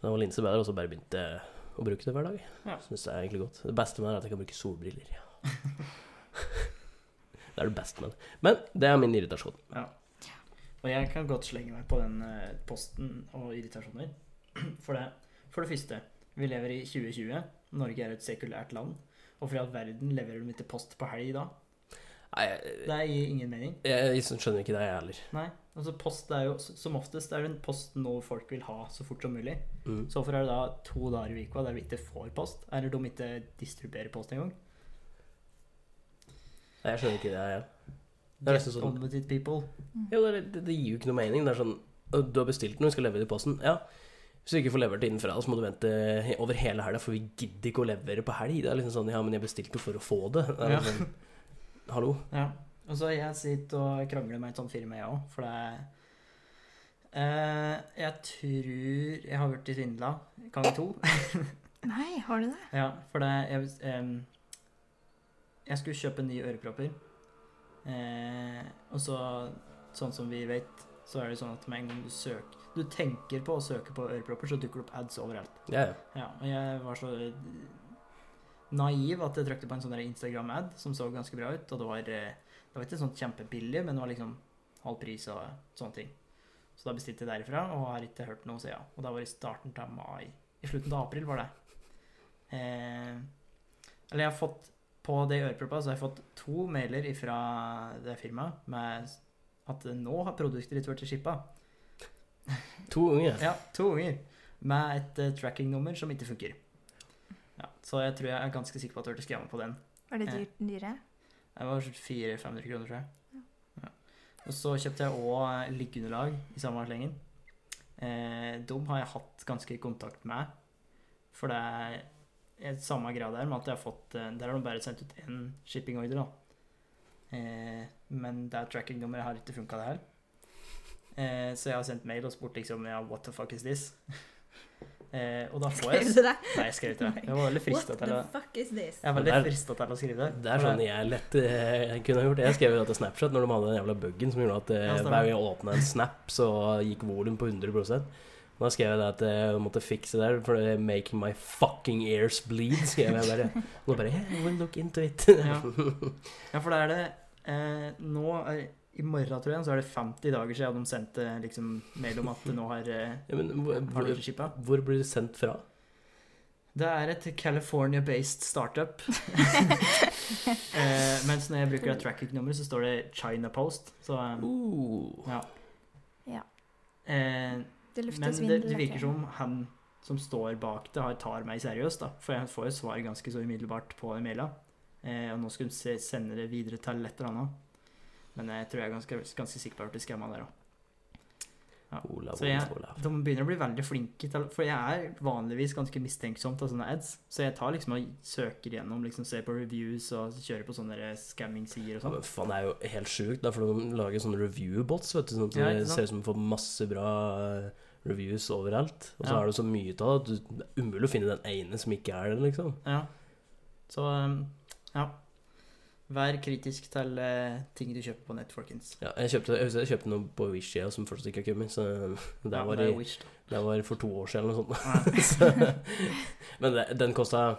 Da var linse bedre, og så bare begynte jeg å bruke det hver dag.
Ja.
Synes det er egentlig godt. Det beste med det er at jeg kan bruke solbriller. Ja. *laughs* det er det beste med det. Men det er min irritasjon.
Og jeg kan godt slenge meg på den eh, posten og irritasjoner. *clears throat* For det, for det første, vi lever i 2020. Norge er et sekulært land. Og for i all verden leverer de ikke post på helg da?
Nei, jeg,
Det gir ingen mening.
jeg, jeg skjønner ikke det, jeg heller.
Nei. Altså post er jo, s- Som oftest er det en post nå folk vil ha så fort som mulig.
Mm.
Så hvorfor er det da to dager i uka der vi ikke får post? Eller de ikke distribuerer post engang?
Nei, Jeg skjønner ikke det. Jeg. Det er
Get
nesten sånn-
on with it, people.
Jo, det, er- det, det gir jo ikke noe mening. Det er sånn «Å, Du har bestilt noe, vi skal levere det i posten. Ja. Hvis du ikke får levert det innen fredag, så må du vente he- over hele helga, for vi gidder ikke å levere på helg. Det er liksom sånn Ja, men jeg bestilte jo for å få det. det er
Ja.
liksom, Hallo.
Ja. Og så jeg sitter og krangler med et sånt firma, jeg òg, for det er eh, Jeg tror jeg har blitt svindla gang to. *laughs*
Nei, har du det?
Ja, for det jeg, em, jeg skulle kjøpe nye ørepropper. Eh, og så, sånn som vi vet, så er det sånn at med en gang du søker Du tenker på å søke på ørepropper, så dukker det opp ads overalt.
Ja, ja.
Ja, og jeg var så eh, naiv at jeg trykte på en sånn der Instagram-ad som så ganske bra ut. Og det var, eh, det var ikke sånn kjempebillig, men det var liksom halv pris og sånne ting. Så da bestilte jeg derifra, og har ikke hørt noe siden. Og da var det i starten av mai. I slutten av april var det. Eh, eller jeg har fått på det øreproppa, så har jeg fått to mailer fra det firmaet med at nå har produktet ditt vært skippa.
To ganger.
Ja, to ganger. Med et eh, tracking-nummer som ikke funker. Ja, så jeg tror jeg er ganske sikker på at jeg hørte skremme på den.
Var det
Eh.
dyrt, dyre?
Det var 400-500 kroner, tror jeg. Ja. Og så kjøpte jeg òg liggeunderlag i samme slengen. Eh, dem har jeg hatt ganske i kontakt med. For det er et samme grad der, med at jeg har fått eh, Der har de bare sendt ut én shipping order, da. Eh, men det er tracking-nummeret har ikke funka, det her. Eh, så jeg har sendt mail og spurt liksom ja, What the fuck is this? *laughs* eh, og da får jeg
*laughs* Skrev du det?
Nei, jeg skrev ikke det. Jeg var veldig
What
frista til
the
å
fuck is this?
jeg er veldig
Det er-
frista til å skrive det.
Det er sånn jeg lett eh, jeg kunne ha gjort. Jeg skrev jo det til Snapchat når de hadde den jævla buggen som gjorde at eh,
Ja, stemmer.
hver gang jeg åpna en snap, så gikk volum på 100 Da skrev jeg det at eh, jeg måtte fikse det, der, for det er 'making my fucking ears bleed'. skrev jeg bare. Og da bare yeah, we'll look into it.
Ja.
*laughs*
Ja, for da er det eh, Nå er, I morgen, tror jeg, så er det 50 dager siden de sendte liksom, mail om at det nå har eh,
Ja, men hvor,
har
hvor,
det ikke shippet.
hvor blir det sendt fra?
Det er et California-based startup. eh, mens når jeg bruker det tracking-nummeret, så står det China Post. Så eh,
Uh,
ja.
Ja.
Eh,
Det lukter
men det,
svindel.
det
vet
virker
du.
som han som står bak det, har tar meg seriøst, da. For jeg får jo svar ganske så umiddelbart på e-maila. Eh, og nå skulle de se, sende det videre til et eller annet. Men jeg tror jeg er ganske, ganske sikker på at jeg ble skamma der òg.
Olav,
Så jeg-
Olav, Olav.
De begynner å bli veldig flinke til For jeg er vanligvis ganske mistenksom til sånne ads. Så jeg tar liksom og søker gjennom, liksom ser på reviews og kjører på sånne der scamming-sider og
Ja,
sånn.
men faen, det er jo helt sjukt, da, for de lager sånne review-bots, vet du, sånn at
Ja,
det
ikke sant?
ser ut som de får masse bra eh, reviews overalt, og så
Ja.
er det så mye av det at du- det er umulig å finne den ene som ikke er den, liksom.
Ja. Så um, ja. Vær kritisk til eh, ting du kjøper på nett, folkens.
Ja, jeg kjøpte, jeg husker jeg kjøpte noe på Wish ja, som fortsatt ikke har kommet, så det
Ja,
var,
det er
i,
jo wish, da.
det var for to år siden eller
*laughs*
noe
Ja.
sånt. *laughs* så, men det, den kostet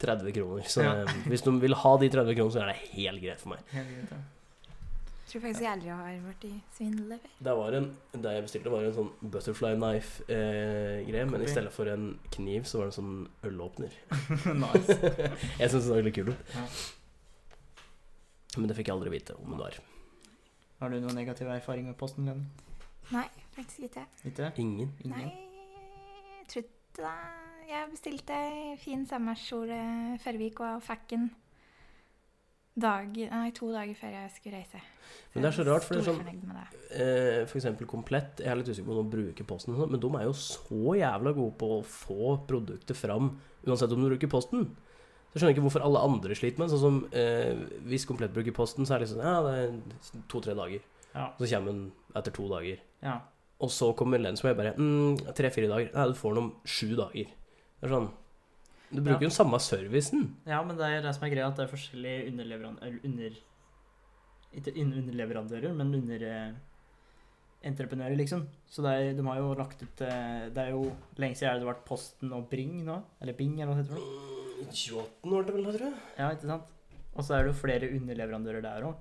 30 kroner, så
Ja.
eh, hvis de vil ha de 30 kroner, så er det helt greit for meg.
Helt greit, ja.
Jeg tror faktisk jeg aldri har vært i svindel før.
Det, var en, det jeg bestilte, var en sånn butterfly knife-greie, men i
Copy.
stedet for en kniv, så var det en sånn ølåpner.
*laughs* nice. *laughs*
jeg syns det var litt kult.
Ja.
Men det fikk jeg aldri vite om det var.
Har du noen negative erfaringer med posten, Lene?
Faktisk ikke.
Ikke?
Ingen.
Ingen?
Nei, jeg tror ikke det. Jeg bestilte ei fin sommerskjole før vi gikk og fikk den dag, nei, to dager før jeg skulle reise.
Men det er så
jeg
rart, for det er sånn-
storfornøyd med det.
Eh, for eksempel Komplett. Jeg er litt usikker på om de bruker Posten, og sånt, men de er jo så jævla gode på å få produktet fram, uansett om du bruker Posten. Så jeg skjønner ikke hvorfor alle andre sliter med det. Sånn som eh, hvis Komplett bruker Posten, så er det liksom Ja, det er to-tre dager.
Ja.
Så kommer den etter to dager.
ja.
Og så kommer Lensmo og jeg bare mm, Tre-fire dager. Nei, du får den om sju dager. Det er sånn Du bruker jo den samme servicen.
Ja, men det er det som er greia, at det er forskjellige underleveran- eller under... Ikke un- underleverandører, men under... eh, entreprenører, liksom. Så det er, de har jo lagt ut eh, Det er jo lenge siden det har vært Posten og Bring nå. Eller Bing, eller hva det sånn heter. for noe.
28 var det vel, tror jeg.
Ja, ikke sant? Og så er det jo flere underleverandører der òg,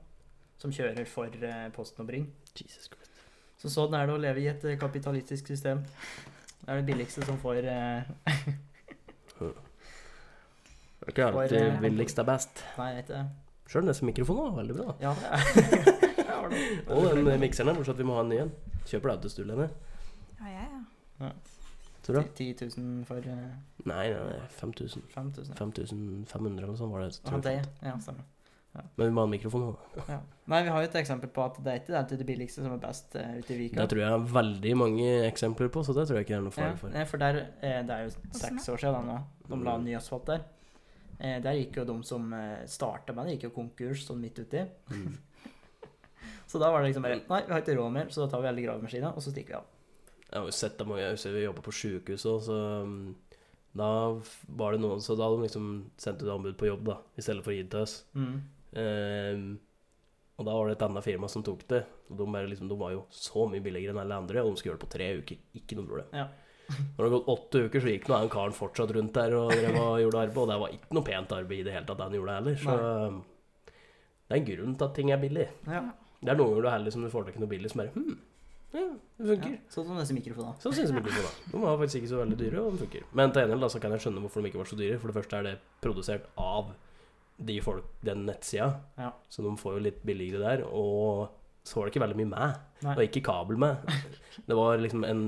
som kjører for eh, Posten og Bring.
Jesus Christ.
Så sånn er det å leve i et eh, kapitalistisk system. Det er det billigste som får eh,
Det er
For,
ikke
eh,
alltid billigst er best.
Nei, jeg vet ikke.
*laughs*
*laughs*
Sjøl neste mikrofon var veldig bra.
Ja, det er var det.
Og den eh, mikseren er fortsatt vi må ha en ny en. Kjøper deg autostol, henne.
Ja, ja, ja.
Tror du? det?
10 000 for eh,
Nei, nei, nei 5000.
5000.
5500 eller noe sånt var det.
Og han
Tror jeg.
deg, ja, stemmer.
Men vi må ha en mikrofon nå. da.
Ja. Nei, vi har jo et eksempel på at det er ikke det til det billigste som er best eh, ute i Vika.
Det tror jeg er veldig mange eksempler på, så det tror jeg ikke det er noe fare
Ja,
for. Mm.
nei, for der, eh, det er jo seks
da?
år siden da nå, de la ny asfalt der. Eh, der gikk jo de som eh, starta med det, gikk jo konkurs sånn midt uti.
Mm.
Så da var det liksom bare Nei, vi har ikke råd mer, så da tar vi hele gravemaskina, og så stikker vi av.
Jeg har jo sett det mange jeg husker vi jobba på sjukehuset, og så um, da f- var det noen Så da hadde de liksom sendt ut anbud på jobb, da, i stedet for å gi det til oss.
Mm.
Ehm, og da var det et annet firma som tok det. Og de, bare liksom, de var jo så mye billigere enn alle andre, og de skulle gjøre det på tre uker. Ikke noe problem.
Ja.
Når det hadde gått åtte uker, så gikk nå den karen fortsatt rundt der og drev og gjorde arbeid, og det var ikke noe pent arbeid i det hele tatt, han gjorde det heller. Så um, det er en grunn til at ting er billig.
Ja.
Det er noen ganger du er heldig som du får tak i noe billig som bare Hm, ja, det
ja.
funker.
Sånn som disse mikrofonene.
Så syns jeg blir bra. De var faktisk ikke så veldig dyre, og de funker. Men til gjengjeld da, så kan jeg skjønne hvorfor de ikke var så dyre. For det første er det produsert av de folk, den nettsida,
Ja.
så de får jo litt billigere der. Og så var det ikke veldig mye med.
Nei.
Det var ikke kabel med. Det var liksom en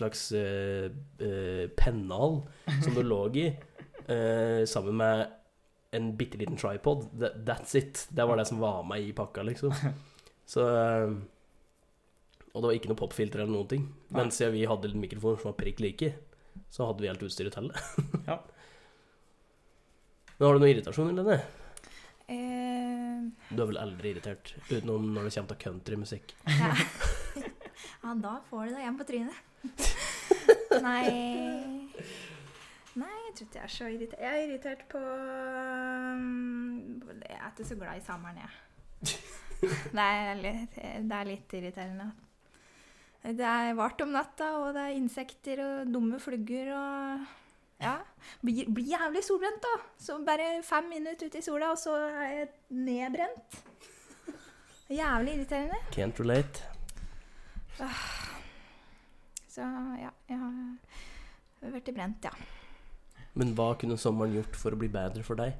slags eh, eh, pennal som du lå i, eh, sammen med en bitte liten tripod. Th- That's it. Det var det som var med i pakka, liksom. Så eh, Og det var ikke noe popfilter eller noen ting.
Nei.
Men siden vi hadde litt mikrofoner som var prikk like, så hadde vi helt utstyret til det.
Ja.
Men har du noe irritasjon, Helene?
Eh,
Du er vel aldri irritert, utenom når det kommer til countrymusikk.
ja. *laughs* ja, da får du deg hjem på trynet. Nei Nei, jeg tror ikke jeg er så irritert. Jeg er irritert på um, Jeg er ikke så glad i sommeren, jeg. Det er litt, det er litt irriterende. Det er vart om natta, og det er insekter og dumme flugger og Ja. Blir, blir jævlig solbrent, da. Så bare fem minutter ute i sola, og så er jeg nedbrent. Jævlig irriterende.
Can't relate.
Så ja, jeg har vært i brent, ja.
Men hva kunne sommeren gjort for å bli bedre for deg?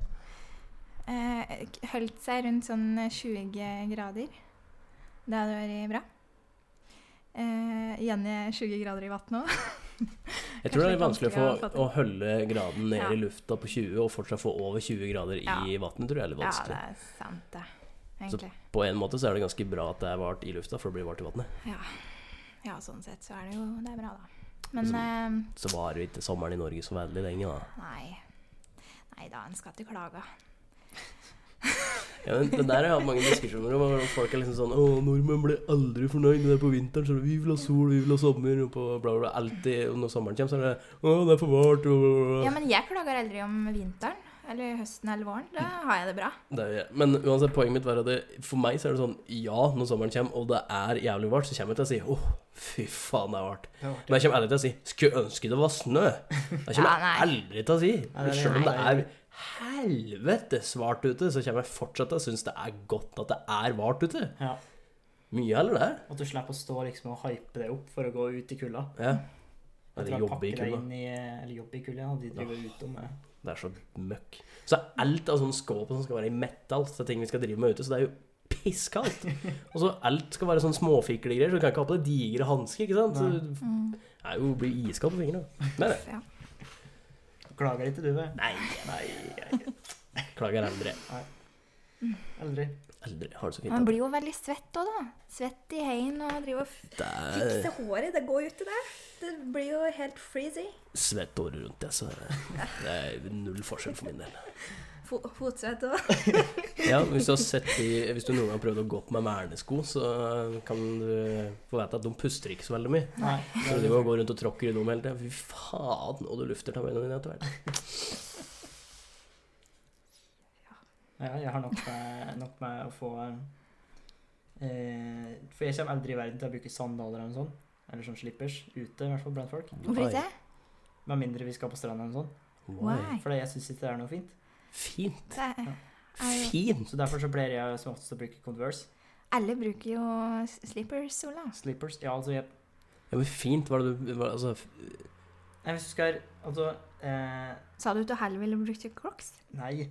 Eh, k- holdt seg rundt sånn 20 grader. Det hadde vært bra. Eh, gjerne 20 grader i vann òg.
Jeg tror det
Kanskje
er litt vanskelig å, få,
vanskelig å
å holde graden ned
Ja.
i lufta på 20 og fortsatt få over 20 grader i vannet, tror jeg er litt
Ja,
vanskelig.
det er sant, det. Egentlig.
På en måte så er det ganske bra at det er vart i lufta, for det blir vart i vannet.
Ja, sånn sett så er det jo Det er bra, da. Men eh,
Så varer jo ikke sommeren i Norge så veldig lenge, da.
nei. Nei da, en skal ikke klage.
Ja, men det der har jeg hatt mange diskusjoner om. og Folk er liksom sånn 'Å, nordmenn ble aldri fornøyd med det er på vinteren.' Så er det 'Vi vil ha sol, vi vil ha sommer.' Og på bla, bla, bla. Alltid og når sommeren kommer, så er det 'Å, det er for vart', og bla, bla, bla.
Ja, men jeg klager aldri om vinteren. Eller høsten eller våren. Da
Mm.
har jeg det bra.
Det er, men uansett, poenget mitt var at det, for meg så er det sånn Ja, når sommeren kommer, og det er jævlig vart, så kommer jeg til å si Å, fy faen, det er vart. Men jeg kommer aldri til å si Skulle ønske det var snø. Det kommer jeg
Ja,
aldri til å si.
Nei, nei,
Selv om det
nei.
er helvetes vart ute, så kommer jeg fortsatt til å synes det er godt at det er vart ute.
Ja.
Mye heller det.
At du slipper å stå liksom og hype det opp for å gå ut i kulda.
Ja.
Etter
Eller
å
jobbe
pakke
i
deg
kulda.
inn i eh, Eller jobbe i kulda, ja. De driver utom eh,
Det er så møkk. Så er alt av sånn skåp som skal være i metall, så det er ting vi skal drive med ute, så det er jo pisskaldt. Og så alt skal være sånn småfiklegreier, så du kan ikke ha på deg digre hansker, ikke sant? Så
Mm,
det er jo blir iskald på fingrene. Nei, nei.
ja.
Klager ikke du, vel?
Nei,
Nei, jeg-
klager aldri.
aldri.
Aldri har det så fint.
Man
at-
blir jo veldig svett òg, da. Svett i heien og driver og
Det er
Fikse håret, det går jo ikke det. Det blir jo helt freezy.
svett året rundt, jeg, så det er null forskjell for min del.
Fo fotsvett og
Ja, hvis du har sett de, hvis du noen gang har prøvd å gå på med vernesko, så kan du få vite at de puster ikke så veldig mye.
Nei.
Så du må gå rundt og tråkke i dem hele tiden. Fy faen, og du lufter ta beina dine etter hvert.
Ja, jeg har nok med, nok med å få um, eh, For jeg kommer aldri i verden til å bruke sandaler eller noe sånt. Eller sånn slippers. Ute, i hvert fall blant folk.
Hvorfor ikke?
Med mindre vi skal på stranda eller noe sånt.
Why?
For jeg syns ikke det er noe fint.
Fint.
Det er, er jo,
Fint.
Så derfor så pleier jeg som oftest å bruke Converse.
alle bruker jo s- slippers, Ola.
Slippers. Ja, altså jeg,
Ja, men fint var det du var, altså, f-
Nei, hvis du skal Altså eh, *laughs*
Sa du at du heller ville brukt crocs?
Nei.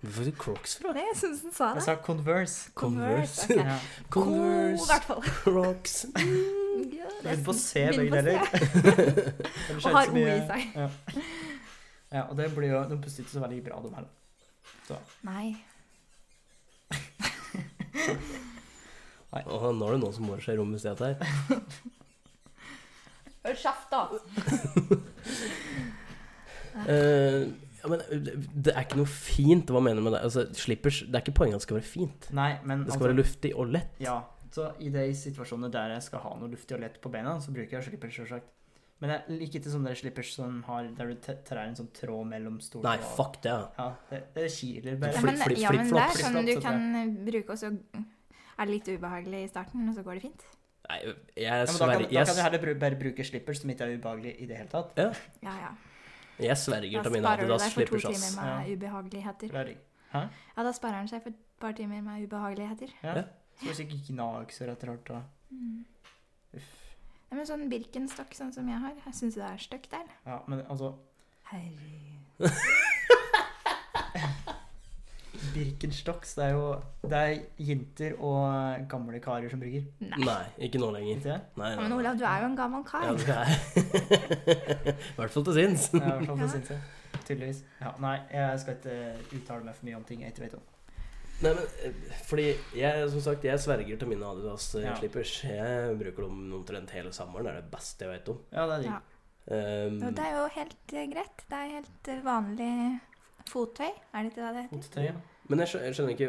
Hvor fikk du Crocs fra?
Nei, jeg syns den sa
Jeg
det.
sa Converse.
Converse.
*laughs*
ok.
Ja.
Cool, i
Converse,
hvert fall.
Crocs
Yes.
Begynn på C,
Begynn
begge
på C.
deler.
Og har O i seg.
Ja. ja, og det blir jo De puster ikke så veldig bra, de her.
Nei.
Åh, nå er det noen som morer seg i rommet stedet her.
Hør kjeft, da.
Eh, ja, men det er ikke noe fint. Hva mener du med det? Altså, slippers, det er ikke poenget at det skal være fint.
Nei, men
Det
Altså-
skal være luftig og lett.
Ja. Så i de situasjonene der jeg skal ha noe luftig og lett på beina, så bruker jeg slippers, sjølsagt. Men jeg liker ikke sånne der slippers som har, der du te- trær en sånn tråd mellom stoler
Nei,
og-
fuck det. ja.
Ja, det, det kiler
Ja,
bare.
Flipp,
men,
flipp,
ja, men
flipp,
det er
flopp.
sånn du
Flipp, flopp,
kan bruke, og så er det litt ubehagelig i starten, og så går det fint.
Nei, jeg
Ja, men da, kan,
sverger
da kan du
jeg,
heller bru- bare bruke slippers som ikke er ubehagelig i det hele tatt.
Ja, ja.
jeg sverger
Da
til mine
sparer du
Adidas
deg for to
slippers, ass.
timer med ubehageligheter.
For det er digg.
Ja, da sparer han seg for et par timer med ubehageligheter.
Ja.
Ja. Så hvis ikke gnagsår etter hvert, da
Mm.
Uff.
Nei, men sånn Birkenstock sånn som jeg har, jeg syns det er stygt der.
Ja, men altså
Herregud.
Birkenstocks, det er jo Det er jenter og eh, gamle karer som bruker.
Nei.
Nei, ikke nå lenger.
Ikke det?
Nei,
Ja,
nei,
men
nei.
Olav, du er jo en gammel kar.
Ja, det skal jeg. *laughs* I hvert fall til sinns.
Ja, i hvert fall
Ja.
så syns jeg. sånn. Tydeligvis. Ja, nei, jeg skal ikke eh, uttale meg for mye om ting jeg ikke vet om.
Nei, men eh, fordi jeg, som sagt, jeg sverger til mine
Ja.
Adidas-slippers. Jeg bruker dem omtrent hele sommeren. Det er det beste jeg vet om.
Ja, det er digg.
Ja.
Um,
Og det er jo helt eh, greit. Det er helt eh, vanlig fottøy, er det ikke det det heter?
Fottøy, ja.
men jeg skjønner, jeg skjønner ikke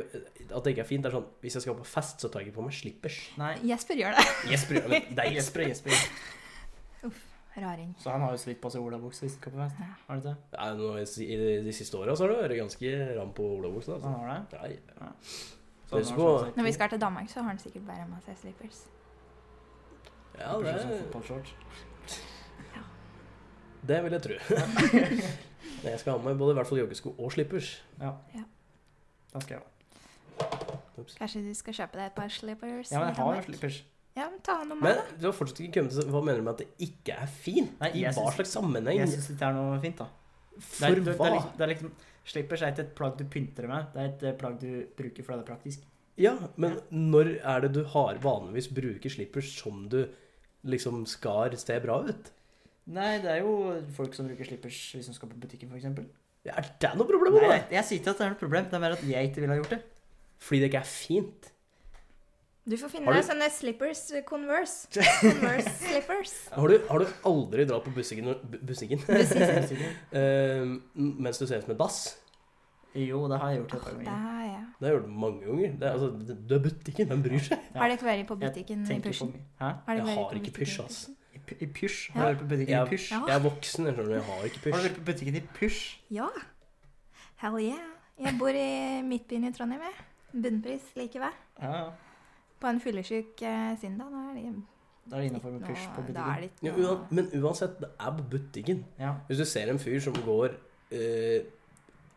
at det ikke er fint. Det er sånn, Hvis jeg skal på fest, så tar jeg ikke på meg slippers.
Nei,
Jesper gjør *laughs* det.
Jesper, ja, men det er
Jesper
Jesper.
er Jesper.
Raring.
Så han har jo slitt på seg olabukse hvis han skal på fest.
Ja.
Har han ikke det?
Ja, nå, i si- I de, de siste åra har du vært ganske ram på olabuksa. Altså.
Han har det?
Nei,
Så han
Husk
har
på-
sånn sett-
Når vi skal til Danmark, så har han sikkert bare med seg slippers.
Ja,
Kanskje sånn
det,
fotballshorts.
det vil jeg tro. *laughs* Men jeg skal ha med både i hvert fall joggesko og slippers.
Da skal jeg ha.
Ups.
Kanskje du skal kjøpe deg et par slippers?
Ja, men
i
jeg har
Danmark?
jo slippers.
Ja, men ta noe med,
Men du har fortsatt ikke kommet til Hva mener du med at det ikke er fint?
Nei,
I
jeg
hva
synes-
slags sammenheng?
Jeg syns det er noe fint, da. Det er,
For
det, det,
hva?
er, liksom- det er liksom Slippers er ikke et plagg du pynter med, det er et eh, plagg du bruker fordi det er praktisk.
Ja, men når er det du har vanligvis bruker slippers som du liksom skar se bra ut?
Nei, det er jo folk som bruker slippers hvis de skal på butikken, f.eks. Nei,
Er det noe problem? Nei,
jeg, jeg sier ikke at det er noe problem, det er bare at jeg ikke ville ha
*laughs*
gjort det.
Fordi det ikke er fint?
det. Du får finne
Har du-
deg sånne slippers eh, Converse. Converse slippers.
Har du, har du aldri dratt på bussigen, bu- bussigen eh, mens du ser ut som et dass?
Jo, det har jeg gjort et par
Åh, det
ganger.
har jeg.
Det har jeg gjort mange ganger. Det er, altså, det- det er butikken, hvem bryr seg?
Ja.
Har dere vært på
Jeg
butikken i
Tenker for
Pysjen?
mye. Hæ?
Har dere
Jeg
vært
har
på
ikke
butikken
pysj,
i
ass.
Pysjen?
I, p- i pysj?
Ja.
Har du vært på butikken
Ja.
i pysj?
Ja.
Jeg er voksen, jeg skjønner, jeg har ikke
Har du
pysj.
vært på butikken i pysj?
Ja. Hell yeah. Jeg bor i midtbyen i Trondheim, jeg. Bunnpris like ved.
Ja, ja.
På en fyllesyk eh, søndag. Da er det
Da er det innafor med pysj på
ikke noe Da er
butikken.
det
Ja,
ikke
uan-
noe
men uansett, det er på butikken.
Ja.
Hvis du ser en fyr som går eh,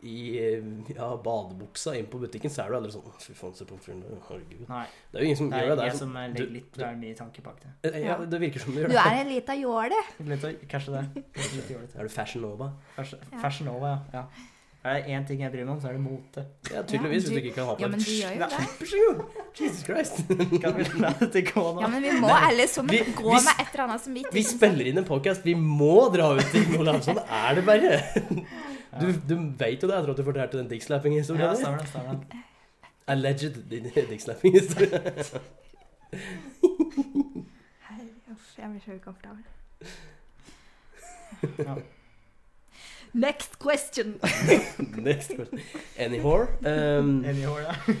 i eh, ja, badebuksa inn på butikken, så er du aldri sånn «Å, Fy faen, se på fyren der. Herregud.
Nei,
Det er jo ingen som
det
gjør det.
er
Det,
jeg
er sånn,
som eh,
du-
legger litt det er mye tanke bak det.
eh, ja, det virker som du gjør
Du
det.
er en lita jåle.
Litt, å- kanskje det. Kanskje litt jålete.
*laughs* Er du fashion nova?
Fashion-
Ja.
Fashion Nova, ja. ja. Er det én ting jeg bryr meg om, så er det mote.
Ja, tydeligvis,
Ja,
hvis
du-
du ikke kan ha på
Ja, men du gjør jo
Nei,
det.
pysj, jo. *laughs* Jesus Christ.
Kan vi la det gå nå?
Ja, men vi må alle sammen
vi-
gå
vi s-
med et eller annet som vi
Vi spiller inn en podcast, vi må dra ut til Olav. Sånn er det bare. Du, du vet jo det etter at du fortalte den
Ja,
dickslapping-historien.
stemmer det. stemmer det.
Alleged *laughs* dickslapping-historien.
Herre, uff, Jeg blir så ukomfortabel.
Ja.
Next question.
Next question. Any whore? Um,
Enig i år, ja.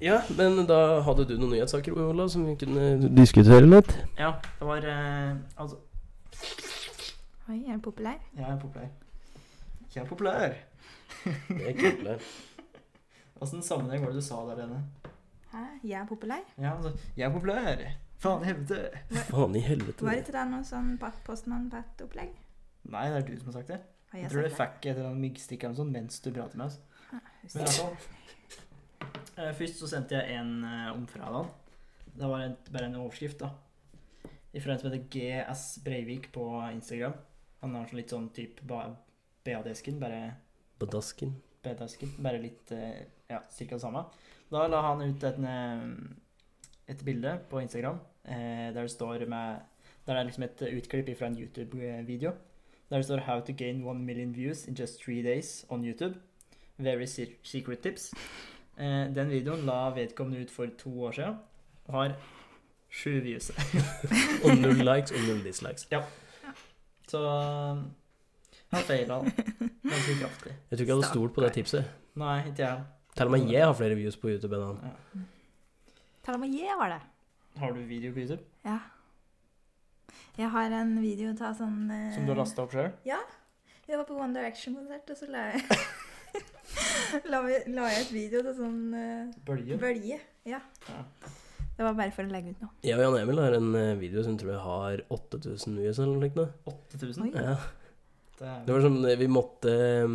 Ja, men da hadde du noen nyhetssaker, Olav, som vi kunne diskutere litt?
Ja, det var eh, Altså,
Oi, er du populær?
jeg er populær. Jeg er populær.
Det er kult. det.
Åssen sammenheng var det du sa der inne?
Hæ? Jeg er populær?
Ja, altså, jeg er populær. Faen i helvete.
Faen i helvete.
Var
det.
ikke det noe sånn Pat- Postmann Pat-opplegg?
Nei, det er du som har sagt det.
Har
Jeg
jeg
tror du
sagt det?
fikk et eller annet myggstikk eller noe sånt mens du prater med oss.
Ah,
Men altså- i hvert fall. sånn. eh, Først så sendte jeg en eh, om fredagen. Det var en, bare en overskrift, da. Ifra en som heter GS Breivik på Instagram. Han har sånn litt sånn type BAD-esken, bare
Badasken.
betasken, bare litt eh, ja, cirka det samme. Da la han ut et, eh, et bilde på Instagram eh, der det står med Der det er liksom et utklipp fra en YouTube-video. Der det står 'How to gain 1 million views in just three days on YouTube'. Very se- secret tips. Eh, den videoen la vedkommende ut for to år siden. Har sju views.
Og null likes og null dislikes.
Så eh, han feila ganske kraftig.
Jeg tror ikke jeg hadde stolt på det tipset.
Nei, ikke jeg.
Til og med jeg har flere views på YouTube enn han.
Ja.
Talamajé var det.
Har du video på YouTube
Ja. Jeg har en video ta sånn eh,
som du har lasta opp sjøl?
Jeg var på One Direction-konsert, og så la jeg *laughs* la, vi- la jeg ut video til sånn eh,
Bølge?
bølge. Ja.
Ja.
Det var bare for å legge ut noe.
Jeg og Jan Emil har en eh, video som tror jeg har 8000 views eller noe lignende.
8000?
Oi.
Ja.
Det er
Det var sånn eh, vi måtte eh,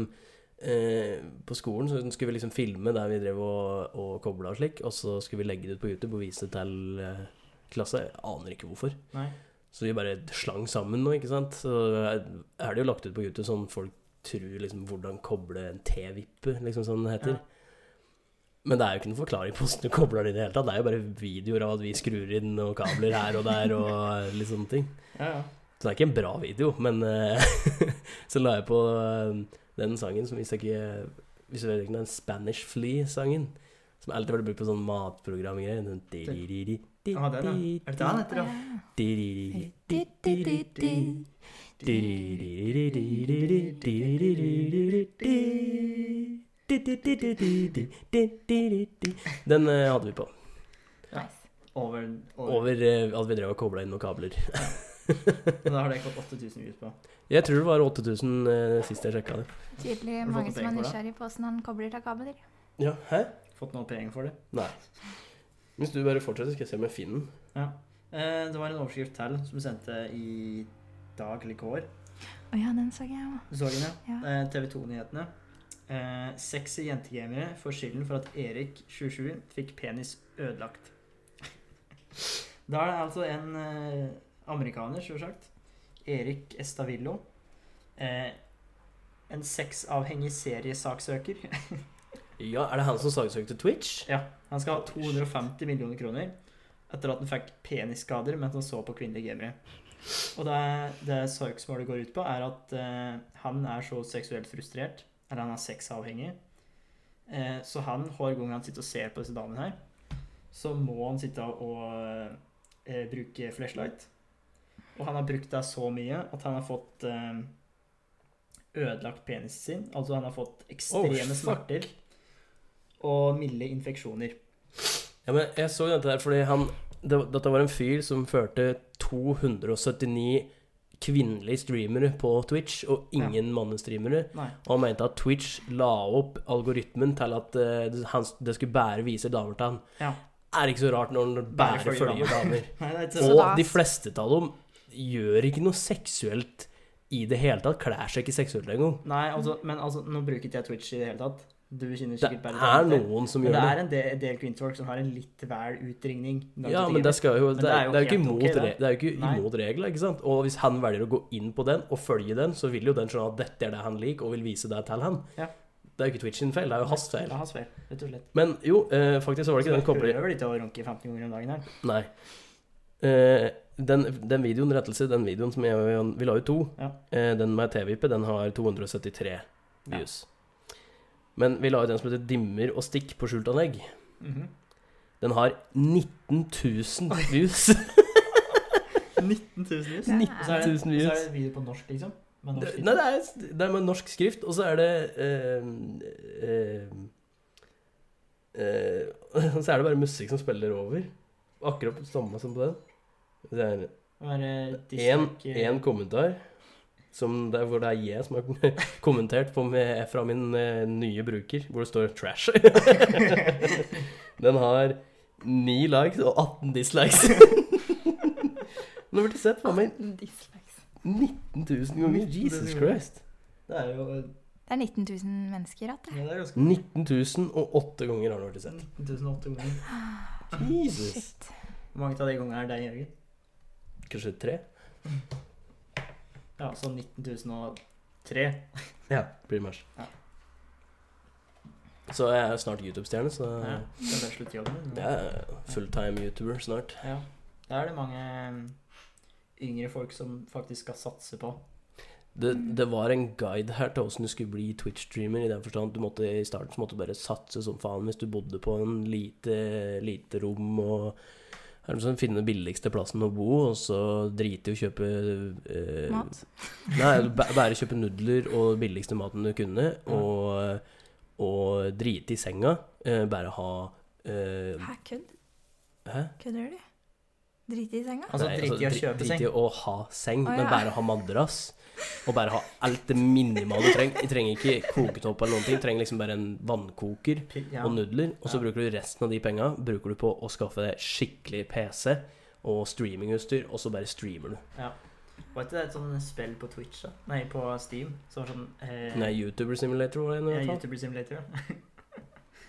eh, På skolen så skulle vi liksom filme der vi drev og, og kobla og slik, og så skulle vi legge det ut på YouTube og vise det til eh, klasse. Jeg aner ikke hvorfor.
Nei.
Så vi bare slang sammen nå, ikke sant. Så eh, er det jo lagt ut på YouTube sånn folk tror liksom hvordan koble en T-vippe, liksom som det heter.
Ja.
Men det er jo ikke noen forklaring på hvordan du kobler det i det hele tatt. Det er jo bare videoer av at vi skrur inn og kabler her og der og litt sånne ting.
Ja, ja.
Så det er ikke en bra video, men eh, så la jeg på eh, den sangen som hvis jeg ikke Hvis jeg vet ikke den Spanish Flea-sangen. Som alltid ble brukt på sånn matprogram og greier. Den di-di-di-di,
Ah, den, ja. Er det den
di-di-di-di,
heter, da?
di-di-di-di-di, di-di-di-di-di-di-di-di-di-di-di-di-di-di. Di-di-di-di-di-di-di-di-di-di. Den eh, hadde vi på.
Ja.
Nice.
Over, over.
Over eh, at vi drev og kobla inn noen kabler.
Men da har det ikke fått 8000 views på.
Jeg tror det var 8000 eh, sist jeg sjekka det.
Tydelig
du
mange
fått
som er
noe penger for det?
nysgjerrig på åssen han kobler til kabler.
Ja, hæ?
Fått noe penger for det.
Nei. Hvis du bare fortsetter, skal jeg se om jeg finner den.
Eh, det var en overskrift til som du sendte i dag eller i går.
Å ja, den så jeg òg.
Du så den, ja?
Ja.
Eh, TV 2-nyhetene. Eh, sexy jentegamere får skylden for at Erik, 27, fikk penis ødelagt. *laughs* Da er det altså en eh, amerikaner, sjølsagt, Erik Estavillo, eh, en sexavhengig seriesaksøker.
Ja, Er det han som saksøkte Twitch?
Han skal ha 250 millioner kroner etter at han fikk penisskader mens han så på kvinnelige gamere. Og det, det søksmålet går ut på, er at eh, han er så seksuelt frustrert, eller han er sexavhengig, eh, så han, hver gang han sitter og ser på disse damene her, så må han sitte og eh, bruke flashlight. Og han har brukt det så mye at han har fått eh, ødelagt penisen sin. Altså han har fått ekstreme
fuck.
smerter og milde infeksjoner.
Ja, men jeg så dette der fordi han det, var- Dette var en fyr som førte 279 kvinnelige streamere på Twitch, og ingen mannestreamere.
Nei.
Og han mente at Twitch la opp algoritmen til at eh, det- han, det skulle bare vise damer til han.
Ja.
Er ikke så rart når han bare
følger
følger damer.
Nei, *laughs* det er ikke
Så
Og
da-
de fleste av dem gjør ikke noe seksuelt i det hele tatt. Klær seg ikke seksuelt engang.
Nei, altså, men altså, nå bruker ikke jeg Twitch i det hele tatt. Du kjenner
Det
sikkert bare
er
til.
noen som
Men
gjør
det
det.
er en del, en del kvinnfolk som har en litt vel utringning. når
Ja,
de
men
driver.
det, skal jo,
Men
det, er, det er jo ikke
helt ok,
imot,
det.
re- det er jo ikke
Nei.
imot regler, ikke sant? Og hvis han velger å gå inn på den og følge den, så vil jo den skjønne at dette er det han liker, og vil vise det til han.
Ja.
Det er jo ikke Twitch sin feil, det er jo hans
Det
feil.
er hans feil, rett og slett.
Men jo, eh, faktisk så var det ikke
Så
den kobler...
prøver litt å runke 15 ganger om dagen her.
Nei. Eh, den, den videoen, rettelse, den videoen som jeg og Jan- vi la ut to,
Ja.
eh, den med TV-vippe, den har 273 views. Men vi la ut den som heter Dimmer og stikk på skjultanlegg.
*laughs* Mhm.
Den har 19 000 views. *laughs*
19 000 views.
Ja.
19
Og så er det,
000
så er
views.
det en video på norsk, liksom. Med norsk
Det,
titel.
nei, det er, det er med norsk skrift, og så er det eh, eh, eh, *laughs* Så er det bare musikk som spiller over. Akkurat samme som på den. Det er
Men, eh,
én
dislike-
én kommentar, som det er, hvor det er jeg som har *laughs* kommentert på med, fra min eh, nye bruker, hvor det står 'trash'. *laughs* den har ni likes og 18 dislikes. *laughs* Nå burde du sett på meg
*laughs* Dislikes.
19 000 ganger. Jesus Christ.
Det er jo
Det er 19 000 mennesker igjen, det.
ja, det er ganske
19.008 ganger har den vært sett.
19.008 ganger.
Jesus.
Shit.
Hvor mange av de gangene er det, Jørgen?
Kanskje tre?
altså Ja, så 19.003.
Ja. Pretty much. Så jeg er jo snart YouTube-stjerne, så
Ja, det er bare sluttjobben. din,
jeg
nå.
er fulltime YouTuber snart.
Ja. Da er det mange eh, yngre folk som faktisk skal satse på.
Det, det var en guide her til åssen du skulle bli Twitch-streamer. I den forstand at du måtte i starten så måtte du bare satse som faen hvis du bodde på en lite, lite rom og er det sånn, finne den billigste plassen å bo, og så drite i å kjøpe eh,
Mat.
Nei, bæ- bare kjøpe nudler og billigste maten du kunne, og, og drite i senga. eh, Bare ha eh,
Hæ, kødd?
Hæ?
Kødder du? Drite i senga?
Altså
Nei,
drit i å
dri-
kjøpe
drit
seng.
i å ha seng,
Å,
men
ja.
bare ha madrass. Og bare ha alt det minimale du trenger. Du trenger ikke koketopp eller noen ting. Du trenger liksom bare en vannkoker
Pi- Ja.
og nudler. Og så
Ja.
bruker du resten av de penga bruker du på å skaffe deg skikkelig PC og streamingutstyr, og så bare streamer du.
Var ikke det et sånt spill på Twitch, da? Nei, på Steam? Som var sånn eh,
Nei, YouTuber Simulator var det nå, i
ja,
hvert fall.
YouTuber Simulator, ja. *laughs*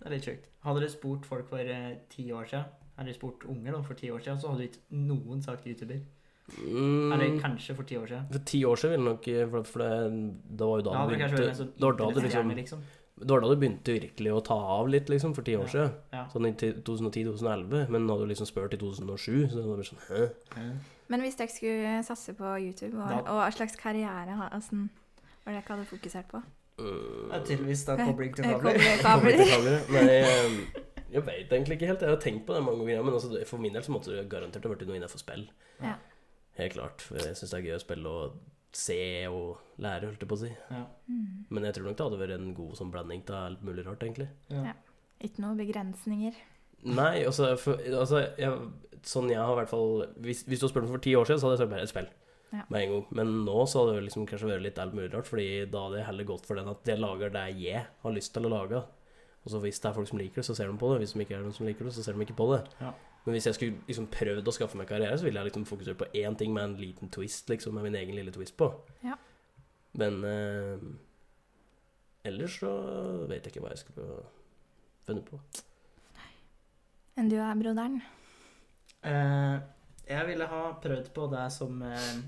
det er litt sjukt. Hadde dere spurt folk for eh, ti år siden, hadde dere spurt unger da, for ti år siden, så hadde ikke noen sagt YouTuber. Eller
Mm,
kanskje for ti år siden.
for ti år siden ville nok for, for det, det var jo da
Da hadde
du
det kanskje vært en sånn
begynte det var da du liksom,
internettstjerne, liksom.
det var da du begynte virkelig å ta av litt, liksom, for ti år siden.
Ja.
Sånn i 2010-2011, men hadde du liksom spurt i 2007, så det var bare sånn Hæ?
liksom.
Men hvis dere skulle satse på YouTube, og,
Da-
og hva slags karriere ha- altså, var det dere hadde fokusert på?
Det er
Mm.
tydeligvis da kobling til
Eh,
kabler.
Kommer
kabler.
til kabler, ja. Nei, eh, jeg veit egentlig ikke helt. Jeg har tenkt på det mange ganger, men altså, det- for min del så måtte det garantert ha vært noe innenfor spill.
Ja.
Helt klart. For jeg syns det er gøy å spille og se og lære, holdt jeg på å si.
*laughs* Ja.
Mm.
Men jeg tror nok det hadde vært en god sånn blanding av alt mulig rart, egentlig.
Ja.
Ja. Ikke noen begrensninger.
Nei, altså, for, altså jeg, Sånn jeg har i hvert fall Hvis, hvis du hadde spurt meg for ti år siden, så hadde jeg sagt bare et spill.
Ja.
Med en gang. Men nå så hadde det liksom kanskje vært litt alt mulig rart, Fordi da hadde jeg heller gått for den at jeg lager det jeg har lyst til å lage. Og så hvis det er folk som liker det, så ser de på det. Hvis de ikke er noen som liker det, så ser de ikke på det.
Ja.
Men hvis jeg skulle liksom prøvd å skaffe meg karriere, så ville jeg liksom fokusert på én ting med en liten twist, liksom, med min egen lille twist på.
Ja.
Men eh, ellers så vet jeg ikke hva jeg skulle funnet på.
Enn du er, broderen.
Eh, jeg ville ha prøvd på det som eh,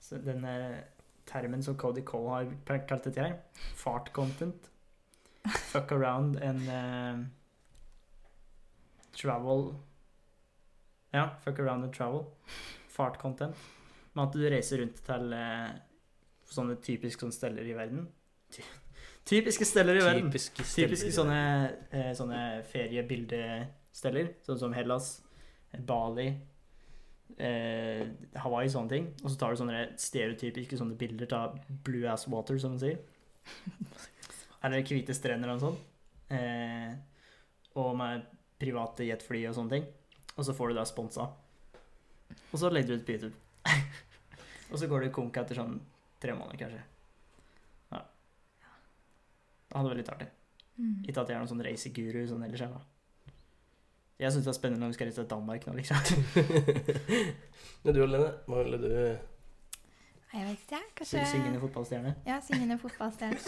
så denne termen som Cody Cole har p- kalt dette her. Fart content. Fuck around and eh, travel Ja, fuck around and travel. Fart content. Med at du reiser rundt til eh, sånne typisk sånne steder i verden. Ty typiske steder i verden.
Typiske,
Typiske
steder.
sånne, eh, sånne feriebildesteller, sånn som Hellas, Bali, eh, Hawaii, sånne ting. Og så tar du sånne stereotypiske sånne bilder av blue ass water, som de sier. Eller hvite strender og sånn. Eh, og med private jetfly og sånne ting. Og så får du da sponsa. Og så legger du ut på YouTube. *laughs* og så går du konk etter sånn tre måneder, kanskje. Ja. Det hadde vært litt artig.
Mm.
Ikke at jeg er noen sånn reiseguru sånn ellers, jeg, da. Jeg syns det er spennende når vi skal reise til Danmark nå, liksom.
Men du Lene, hva ville du *laughs*
Nei, Jeg vet ikke, jeg.
*laughs* Sy- Syngende
Kanskje
fotballstjerne.
Ja, syngende fotballstjerne.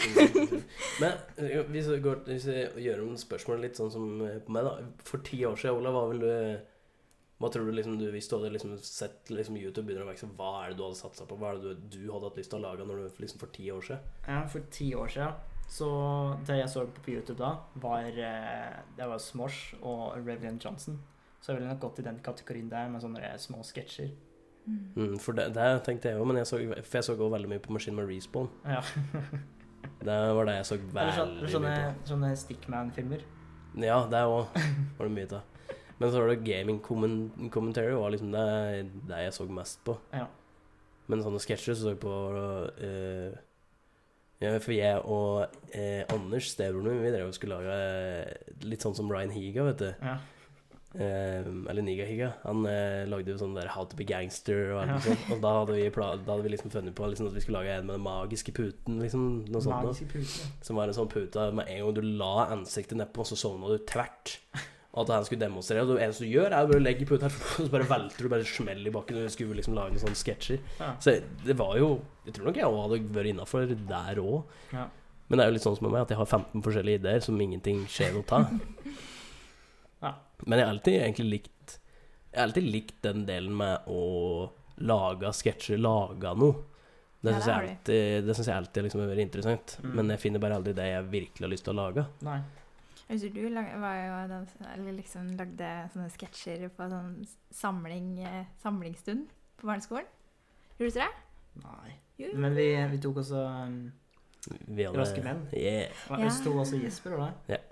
*laughs* Men eh, hvis vi, går, hvis vi gjør om spørsmålet litt sånn som eh, på meg, da. For ti år siden, Olav, hva ville du Hva tror du liksom du Hvis du hadde liksom sett liksom YouTube begynner å vokse, hva er det du hadde satsa på? Hva er det du, du hadde hatt lyst til å lage når du, liksom, for ti år siden?
Ja, for ti år siden, så det jeg så på YouTube da, var eh, Det var Smosh og Revelyn Johnson. Så jeg ville nok gått i den kategorien der med sånne eh, små sketsjer.
Mm.
Mm, for det, det tenkte jeg òg, men jeg så, for jeg så også veldig mye på Maskin med Respawn.
Ja. *laughs*
Det var det jeg så
Eller
veldig
sånne, sånne,
mye på.
sånne Stickman-filmer.
Ja, det òg var det mye av. Men så var det gaming commen- commentary var liksom det, det jeg så mest på.
Ja.
Men sånne sketsjer så så jeg på eh, ja, For jeg og eh, Anders, stebroren min, vi drev og skulle lage eh, litt sånn som Ryan Higa, vet du.
Ja.
Eh, eller Niga Higa. Han eh, lagde jo sånn der How to be gangster og alt
Ja.
sånt. Og da hadde, vi pla da hadde vi liksom funnet på liksom, at vi skulle lage en med den magiske puten, liksom. Noe sånt noe.
Magiske puter.
Som var en sånn pute med en gang du la ansiktet nedpå, så sovna du tvert. Og at han skulle demonstrere. Og det eneste du gjør, er å bare legge puta her, *laughs* og så bare velter du, bare smeller i bakken. Og du skulle liksom lage sånne sketsjer.
Ja.
Så det var jo Jeg tror nok jeg også hadde vært innafor der òg.
Ja.
Men det er jo litt sånn som med meg, at jeg har 15 forskjellige ideer som ingenting skjer noe av.
*laughs* Ja.
Men jeg har alltid egentlig likt Jeg har alltid likt den delen med å lage sketsjer, lage noe. Det
Ja,
syns
det
jeg
har de.
alltid, det synes jeg alltid liksom har vært interessant.
Mm.
Men jeg finner bare aldri det jeg virkelig har lyst til å lage.
Nei.
Jeg husker du lag, var jo den, som- eller liksom lagde sånne sketsjer på sånn samling, eh, samlingsstund på barneskolen. Gjorde du ikke det?
Nei.
Jo, jo.
Men vi, vi tok også um,
Vi hadde-
Raske menn.
Yeah.
hva,
Ja.
Sto også Jesper, var det?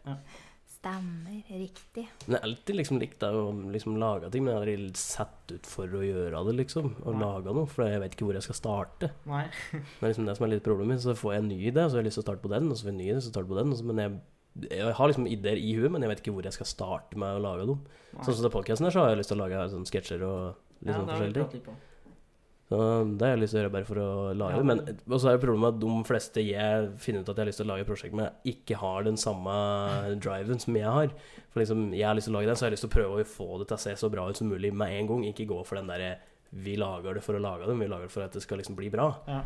Stemmer. Riktig.
Men jeg har alltid liksom likt det å liksom lage ting, men jeg har aldri sett ut for å gjøre det, liksom. Å
Nei.
lage noe, for jeg vet ikke hvor jeg skal starte.
Nei.
Det er liksom det som er litt problemet. Så får jeg en ny idé, så har jeg lyst til å starte på den, og så får jeg en ny idé, så starte på den. og så- Men jeg, jeg har liksom ideer i huet, men jeg vet ikke hvor jeg skal starte med å lage dem.
Nei.
Sånn som den podkasten her, så har jeg lyst til å lage sånn sketsjer og litt
Ja, det har
sånn
vi
forskjellige ting.
pratet litt på.
Så det har jeg lyst til å gjøre bare for å
Ja.
lage det. Men, og så er det problemet at de fleste jeg finner ut at jeg har lyst til å lage et prosjekt med, ikke har den
*laughs*
samme driven som jeg har. For liksom, jeg har lyst til å lage den, så jeg har lyst til å prøve å få det til å se så bra ut som mulig med en gang. Ikke gå for den derre vi lager det for å lage det, men vi lager det for at det skal liksom bli bra.
Ja.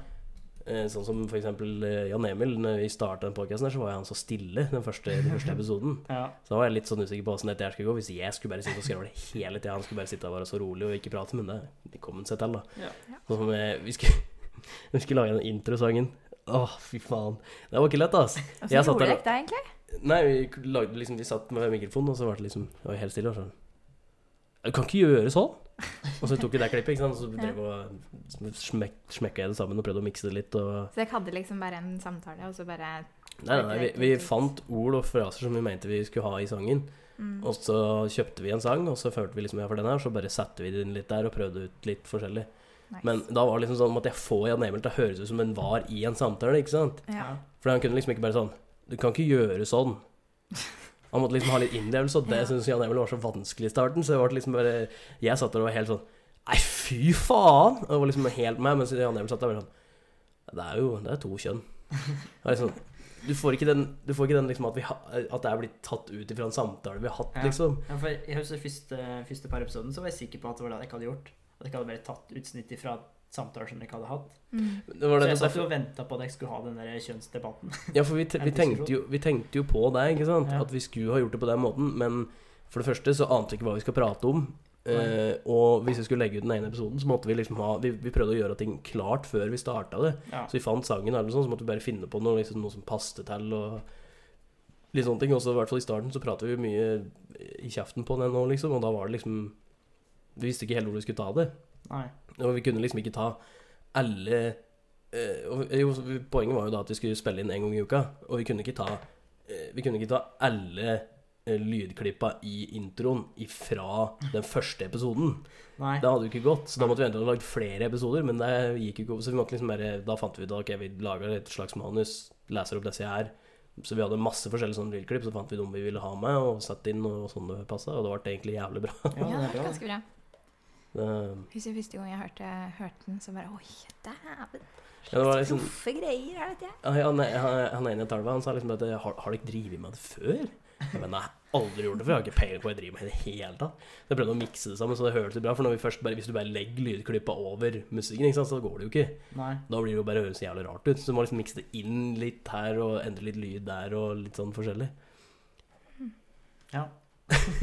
Eh, Sånn som for eksempel eh, Jan Emil, når vi starta den podkasten her, så var han så stille den første, den første episoden.
Ja.
Så da var jeg litt sånn usikker på åssen dette her skulle gå. Hvis jeg skulle bare sitte og skravle hele tida, han skulle bare sitte og være så rolig og ikke prate, men det, det kom han seg til, da.
Ja.
Sånn som eh, vi skulle, *laughs* vi skulle lage den introsangen. Åh, fy faen. Det var ikke lett, ass.
Hvordan
Jeg satt
gjorde
der
dere
og-
det egentlig?
Nei, vi, lagde, liksom, vi satt med mikrofonen, og så var det liksom det var helt stille. Og sånn Du kan ikke gjøre sånn! Og så tok vi det klippet, ikke sant. Og så drev og smek, smekka jeg det sammen og prøvde å mikse det litt. Og...
Så dere hadde liksom bare en samtale, og så bare
Nei, nei, nei vi, vi fant ord og fraser som vi mente vi skulle ha i sangen.
mm.
Og så kjøpte vi en sang, og så følte vi liksom ja for den her, så bare satte vi den litt der og prøvde ut litt forskjellig.
nice.
Men da var det liksom sånn at jeg får Jan Emil til å høres ut som en var i en samtale, ikke sant?
ja.
For han kunne liksom ikke bare sånn Du kan ikke gjøre sånn. Han måtte liksom ha litt innlevelse, og det
Ja.
synes Jan Emil var så vanskelig i starten. Så det var liksom bare Jeg satt der og var helt sånn Nei, fy faen! Og det var liksom helt meg, mens Jan Emil satt der og var sånn Det er jo Det er to kjønn. Det var liksom du får ikke den, du får ikke den liksom at, vi ha, at det er blitt tatt ut ifra en samtale vi har hatt,
Ja.
liksom.
Ja, for jeg husker første, første par episoden så var jeg sikker på at det var det jeg ikke hadde gjort. At jeg ikke hadde bare tatt utsnitt fra samtaler som jeg ikke hadde hatt.
Mm.
Det var
Så
det,
jeg
derfor-
satt jo og venta på at jeg skulle ha den der kjønnsdebatten.
Ja, for vi, te vi, tenkte jo, vi tenkte jo på det, ikke sant?
Ja.
At vi skulle ha gjort det på den måten. Men for det første så ante vi ikke hva vi skal prate om. Eh, og hvis vi skulle legge ut den ene episoden, så måtte vi liksom ha Vi, vi prøvde å gjøre ting klart før vi starta det.
Ja.
Så vi fant sangen, eller noe sånt, så måtte vi bare finne på noe, liksom, noe som passte til. og Litt sånne ting, også i hvert fall i starten så pratet vi jo mye i kjeften på den nå, liksom, og da var det liksom Vi visste ikke helt hvor vi skulle ta det.
Nei.
Og vi kunne liksom ikke ta alle eh, og, jo, så vi- Poenget var jo da at vi skulle spille inn en gang i uka, og vi kunne ikke ta, eh, vi kunne ikke ta alle eh, lydklippa i introen ifra den første episoden.
Nei.
Det hadde jo ikke gått, så da måtte vi enten ha lagd flere episoder, men det gikk jo ikke. Så vi måtte liksom bare, da fant vi ut at ok, vi lager et slags manus, leser opp disse her. Så vi hadde masse forskjellige sånne lydklipp, så fant vi dem vi ville ha med, og satt inn og sånn det passa, og det ble egentlig jævlig bra.
Ja, det er
Ja, det var
bra.
ganske bra.
Det-
Husker første gang jeg hørte, hørte den, så bare Oi, dæven.
Ja, det var liksom-
Proffe greier er dette.
Ja, Han, han, han ene i Talva han sa liksom at har, har du ikke drevet med det før? Jeg mener, jeg har aldri gjort det før, jeg har ikke peiling på hva jeg driver med i det hele tatt. Så jeg prøvde å mikse det sammen, så det hørtes bra. For når vi først bare, hvis du bare legger lydklippa over musikken, ikke sant, så går det jo ikke.
Nei.
Da blir det jo bare høres jævlig rart ut. Så du må liksom mikse det inn litt her, og endre litt lyd der, og litt sånn forskjellig.
Ja.
*laughs*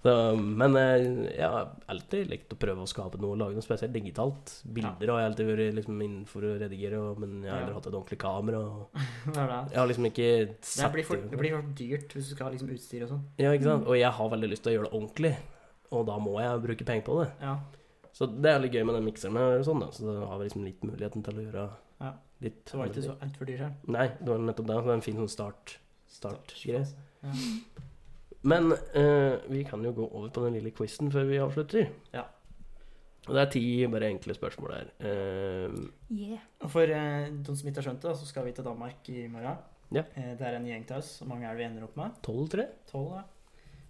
Så, men eh, jeg har alltid likt å prøve å skape noe, lage noe spesielt digitalt. Bilder har jeg alltid vært liksom innenfor å redigere, og, men jeg har aldri
Ja.
hatt et ordentlig kamera. Og
Det er det.
jeg har liksom ikke
Det
sett
blir for, det blir for dyrt hvis du skal ha liksom utstyr og sånn.
Ja, ikke sant?
Mm.
Og jeg har veldig lyst til å gjøre det ordentlig, og da må jeg bruke penger på det.
Ja.
Så det er litt gøy med den mikseren og sånn, da. Så da har vi liksom litt muligheten til å gjøre
Ja.
litt
Så var det ikke så altfor dyrt her.
Nei, det var nettopp det. Så det er en fin sånn start. Startgreie.
Ja.
Men eh, vi kan jo gå over på den lille quizen før vi avslutter.
Ja.
Og det er ti bare enkle spørsmål der. Eh,
Yeah.
Og for eh, de som ikke har skjønt det, så skal vi til Danmark i morgen.
Ja.
Eh, det er en gjeng til oss. Hvor mange er det vi ender opp med?
Tolv, tror jeg.
Tolv, ja.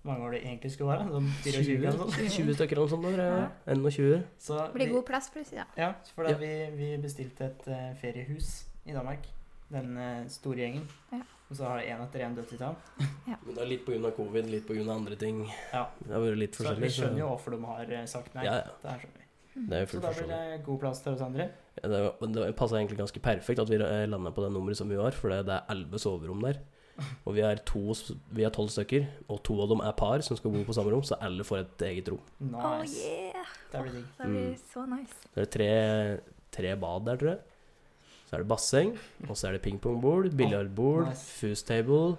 Hvor mange var det egentlig skulle være? Sånn 24
20
eller noe sånt.
20 stykker eller noe sånt. tror jeg. 21.
Så
Blir
vi-
god plass plutselig, da.
Ja, for da
Ja.
vi, vi bestilte et eh, feriehus i Danmark. Den eh, store gjengen.
Ja.
Og så har én etter én dødd i tann.
Men det er litt pga. covid, litt pga. andre ting.
Ja.
Det har vært litt
Så vi
forskjellig. så-
skjønner jo hvorfor de har eh, sagt nei.
Ja, ja.
Det her skjønner vi.
Mm.
Det er jo
Så
fullt
da blir
forståelig.
det god plass til oss andre.
Ja, Det, var- det passa egentlig ganske perfekt at vi landa på det nummeret som vi var, for det det er elleve soverom
*laughs*
der. Og vi er to s- vi er tolv stykker, og to av dem er par som skal bo på samme rom, så alle får et eget rom.
Nice.
Oh yeah!
Det blir digg.
Det blir
Mm.
så nice.
Det er tre, tre bad der, tror jeg. Så er det basseng, og så er det pingpongbord, biljardbord,
Nice.
fuse table,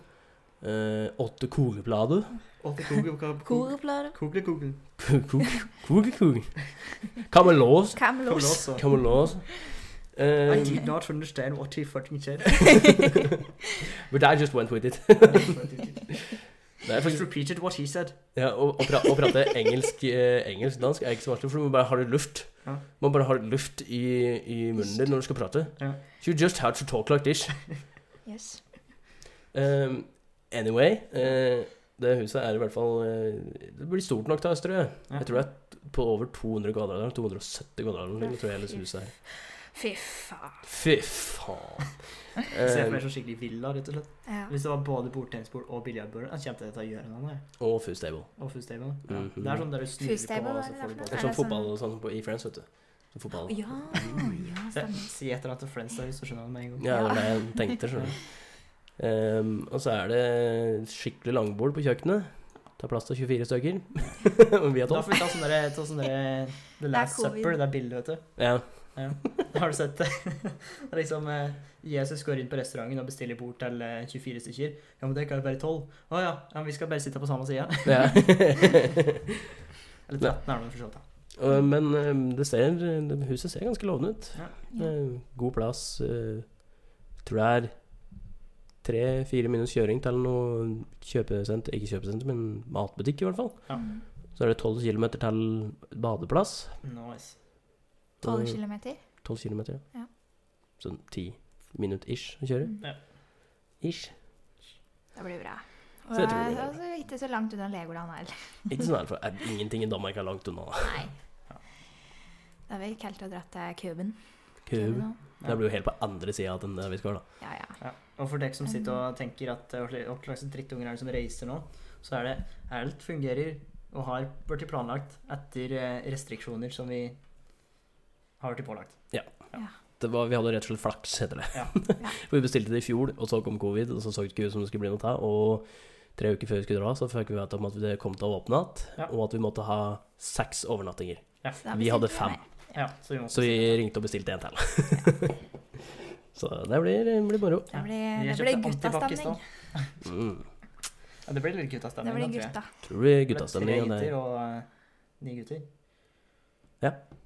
eh, åtte kokeplater *laughs*
Åtte kugel, kugel, kugel,
Kogeplater.
kugel, kugel.
Kokekok. Kamelås.
Camelos.
Også.
Kamelås.
I
Eh,
did not understand what he fucking *laughs* said.
but I just went with it. Det er
I just
faktisk,
repeated what he said.
ja, å, å, pra, å prate engelsk, eh, engelsk dansk er ikke så vanskelig, for du må bare ha litt luft.
Ja.
Du må bare ha litt luft i, i munnen din når du skal prate.
Ja.
You just have to talk like this.
Yes.
Um, anyway, eh, det huset er i hvert fall eh, Det blir stort nok til Østerøy. Jeg tror det er på over 200 kvadrat. eller 270 kvadrat eller noe, tror jeg hele huset er.
Fy faen.
Fy
*laughs*
faen.
Se for meg
Eh,
sånn skikkelig villa, rett og slett.
Ja.
Hvis det var både bordtennisbord og biljardbord, da kjente jeg dette gjøren av meg.
og Foose Table.
Og food stable. Ja.
Mhm.
Det er sånn der du snurrer på,
Foodstable,
og
hva er
så
det
får du ball.
Det er
for Er
sånn
det
fotball
sånn-
og sånn på, i Friends, vet du. Sånn fotball.
Ja, ja,
Ja,
stemmer.
Si et eller annet til Friends der, så skjønner han det med en gang.
Ja, *laughs* det var det
*laughs*
jeg tenkte. skjønner du. Ehm, og så er det skikkelig langbord på kjøkkenet. Tar plass til 24 stykker. *laughs* Og vi er
Da
tolv.
får vi ta sånn derre ta sånn
*laughs*
derre The Last
covid.
Supper, det er bildet, vet du. *laughs*
Ja.
Har du sett det? *laughs* Det er liksom eh, Jesus går inn på restauranten og bestiller bord til eh, 24 stykker. Ja, men det kan jo være 12. Å ja, ja, men vi skal bare sitte på samme side.
ja.
*laughs*
*laughs*
Eller 13 er det vel for så vidt. da.
Og- Men ehm, det ser, det- huset ser ganske lovende ut.
Ja.
Eh, God plass. eh, Tror det er tre-fire minus kjøring til noe kjøpesenter Ikke kjøpesenter, men matbutikk, i hvert fall.
Ja.
Mm.
Så er det 12 km til badeplass.
Nice.
12 kilometer.
12 km, ja.
Ja.
Sånn 10 minutt ish å kjøre.
Mm.
Ja.
Ish.
Det blir bra. Og
Så jeg tror det blir
det er altså ikke så langt unna Legoland heller.
Ikke sånn her, for er, ingenting i Danmark er langt
*laughs*
unna.
Nei.
Ja.
Da har vi kalt og dratt til Kuben.
Køben.
Kuben også.
Det blir jo helt på andre sida av den der vi skal, da.
Ja, ja.
Ja. Og for dere som
Mm.
sitter og tenker at eh, hva slags drittunger er det som reiser nå, så er det alt fungerer og har blitt planlagt etter eh, restriksjoner som vi har blitt pålagt.
Det var, vi hadde rett og slett flaks, heter det.
Ja.
*laughs* For vi bestilte det i fjor, og så kom covid, og så så det ikke ut som det skulle bli noe av. Og tre uker før vi skulle dra, så fikk vi vite om at det kom til å åpne igjen,
Ja.
og at vi måtte ha seks overnattinger.
Så da
Vi hadde
bestilte
fem.
mer.
Ja, så vi må
Så vi ringte og bestilte en til. *laughs* så det blir, blir moro.
Ja.
Det blir,
Vi
det blir
kjøpte antibac i
guttastemning.
stad.
Mm.
Ja, det blir litt
Det
guttastemning. da, tror jeg.
blir gutta.
Tror det blir
Med Tre
guttastemning. og det-
gutter og eh, ni gutter.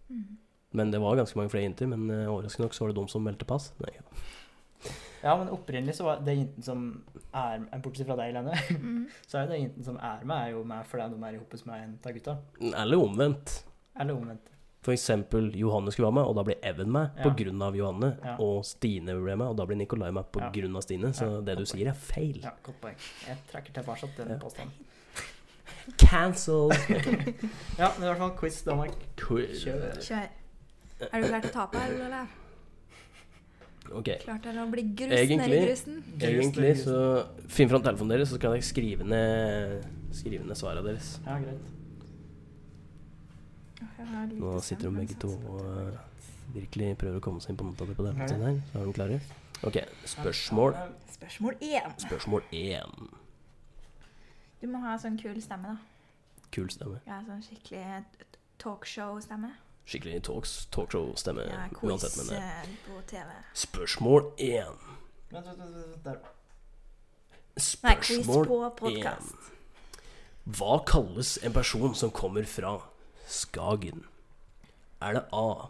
Mm.
Men det var ganske mange flere jenter, men eh, overraskende nok så var det de som meldte pass. Nei, ja.
Ja, men opprinnelig så var det jenten som er Bortsett fra deg, Lene,
Mm.
*laughs* så er det den jenten som er med, er jo med fordi de er sammen med en av gutta.
Eller omvendt.
Eller omvendt.
For eksempel Johanne skulle være med, og da blir Even med
Ja.
på grunn av Johanne.
Ja.
Og Stine ble med, og da blir Nikolai med på
Ja.
grunn av Stine. Så
Ja.
det du sier, er feil.
Ja, godt poeng. Jeg trekker tilbake den
Ja.
påstanden. *laughs*
Cancel!
Ja, men i hvert fall quiz Danmark. *laughs* Kjør.
Kjør. Er du klar til å tape, eller? Olav?
Ok.
Klar til å bli grus nedi
Egentlig-
grusen?
Egentlig så Finn fram telefonen deres, så skal jeg skrive ned, skrive ned svarene deres.
Ja, greit.
Nå sitter de begge to og eh, virkelig prøver å komme seg inn på nota di på
Ja.
den tiden her. Så er de klare. Ok, spørsmål
Spørsmål én.
Spørsmål én.
Du må ha sånn kul stemme, da.
Kul stemme.
Ja, sånn skikkelig t- talkshow-stemme.
Skikkelig talks- talkshow-stemme
Ja, quiz
uansett, men eh,
eh, på TV.
Spørsmål én.
Vent, vent, vent, vent, der.
Nei, quiz
Spørsmål
på podkast.
Hva kalles en person som kommer fra Skagen? Er det A.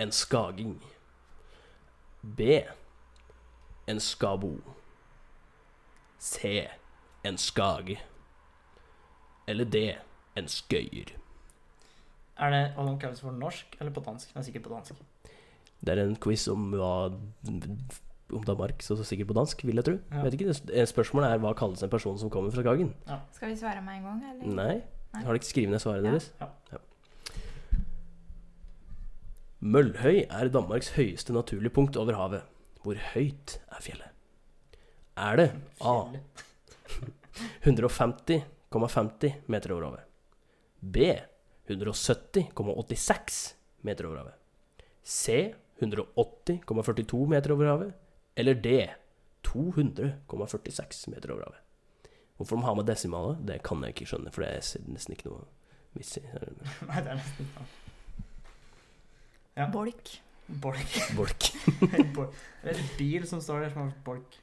En skaging. B. En skabo. C. En skage. Eller D. En skøyer.
Er det hva de kalles for norsk eller på dansk? Det er sikkert på dansk.
Det er en quiz om hva om Danmark, så sikkert på dansk, vil jeg tro.
Ja.
Vet ikke, det- eh, Spørsmålet er hva kalles en person som kommer fra Skagen?
Skal vi svare med en gang, eller?
Nei.
Nei.
Har dere ikke skrevet ned svaret
Ja.
deres?
Ja.
Møllhøy er Danmarks høyeste naturlige punkt over havet. Hvor høyt er fjellet? Er det A.
*laughs* Fjellet.
150,50 meter over havet? B. 170,86 meter over havet? C. 180,42 meter over havet? Eller D. 200,46 meter over havet? Hvorfor de har med desimaler, det kan jeg ikke skjønne, for det er nesten ikke noe vits i.
Nei, det er nesten ja. Ja.
Bolk.
*laughs*
Bolk. *laughs*
Bolk.
Bolk. Det er et bil som står der som har bolk.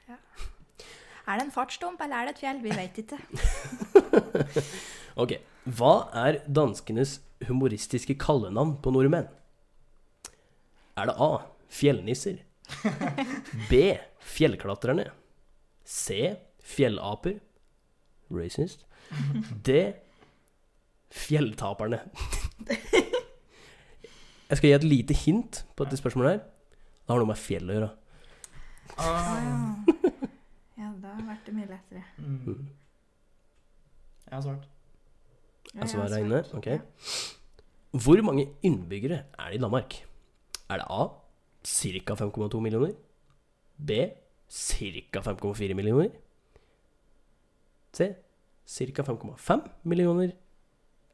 Er det en fartsdump, eller er det et fjell? Vi vet ikke.
ok. Hva er danskenes humoristiske kallenavn på nordmenn? Er det A. Fjellnisser? B. Fjellklatrerne? C. Fjellaper? Racist. D. Fjelltaperne. Jeg skal gi et lite hint på dette spørsmålet her. Det har noe med fjell å gjøre.
Ah.
Ja, da ble det mye lettere.
Mm. Jeg har svart.
Ja,
Jeg
jeg har
svarer Altså inne.
svart.
Ok.
Ja.
Hvor mange innbyggere er det i Danmark? Er det A ca. 5,2 millioner? B ca. 5,4 millioner? C ca. 5,5 millioner?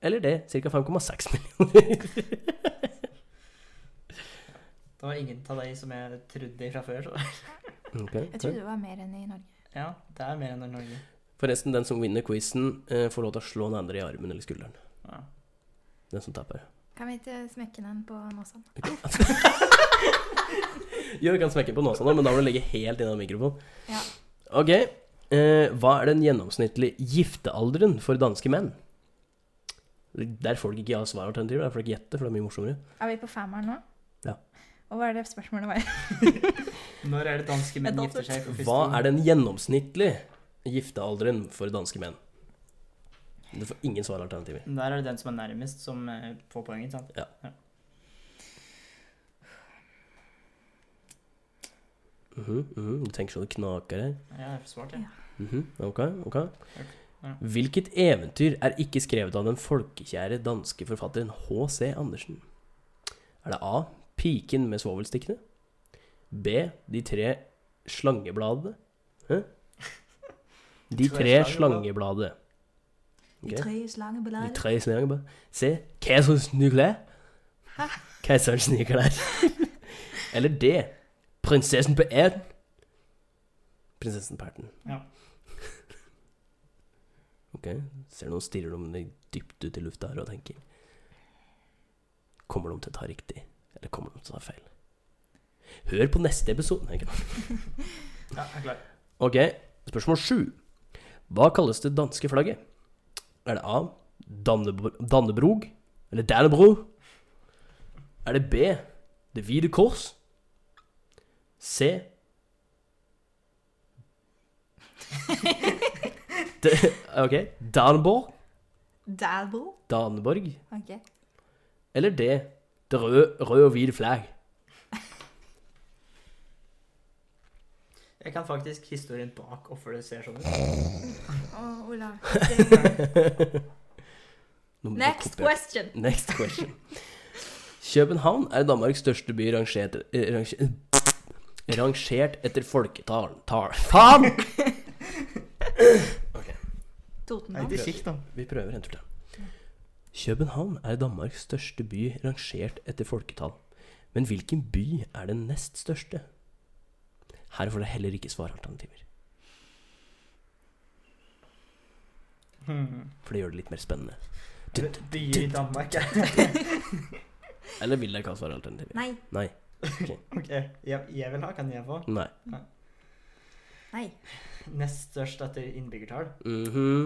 Eller D ca. 5,6 *laughs* millioner?
Det var ingen av de som jeg trodde fra før. Så. *laughs*
Ok.
Jeg trodde det var mer enn i Norge.
Ja, det er mer enn i Norge.
Forresten, den som vinner quizen, eh, får lov til å slå den andre i armen eller skulderen.
Ja.
Den som taper.
Kan vi ikke smekke den på noe sånt?
Jo, vi kan smekke på nåsa nå, men da må du legge helt innom mikrofonen.
Ja.
Ok. Eh, hva er den gjennomsnittlige giftealderen for danske menn? Der folk ikke har svaralternativer, der folk gjetter, for det er mye morsommere.
Er vi på femmeren nå?
Ja.
Og hva er det spørsmålet var?
Når er det danske menn
Jeg
gifter seg for første
Hva
gang?
er den gjennomsnittlige giftealderen for danske menn? Du får ingen svaralternativer.
Der er det den som er nærmest, som eh, får poenget. sant?
Mhm, mhm, Du tenker så det knaker her.
Ja, jeg har svart, jeg.
Mhm, ok, ok.
Ja.
Hvilket eventyr er ikke skrevet av den folkekjære danske forfatteren H.C. Andersen? Er det A. Piken med svovelstikkene? B. De tre slangebladene? *laughs* Hæ? De tre
tre
slangebladene. *laughs* Ok.
tre slanger på
De tre slangebladene. C. Keiserens nye klær. Keiserens nye klær. Eller D. Prinsessen på erten. Prinsessen på erten.
Ja.
*laughs* Ok, ser noen stirrer de dypt ut i lufta her og tenker Kommer de til å ta riktig, eller kommer de til å ta feil? Hør på neste episode. tenker jeg.
Ja, jeg er klar.
Ok, spørsmål sju. Hva kalles det danske flagget? Er det A. Dannebro, Dannebrog? Eller Dannebro? Er det B. Det hvite kors? C. *laughs* D, ok, Danneborg?
Dabble.
Daneborg?
Ok.
Eller D. Det røde, rød og hvite flagg.
Jeg kan faktisk historien bak hvorfor det ser sånn ut.
*laughs*
Og Olav.
Nå må du
*laughs* Next
kopiere.
question.
Next question. København er Danmarks største by rangert, eh, rangert, *laughs* rangert etter folketall. Tal. Faen!
Nei,
Totenland.
ikke sikt, da.
Vi prøver en tur til. København er Danmarks største by rangert etter folketall. Men hvilken by er den nest største? Her får det heller ikke svaralternativer.
Hmm.
For det gjør det litt mer spennende.
Byer i Danmark, ja.
Eller vil dere ikke ha svaralternativer?
Nei.
Nei.
*laughs* Ok, jeg, jeg vil ha, kan jeg få?
Nei.
Nei.
Nest størst etter innbyggertall.
Mhm.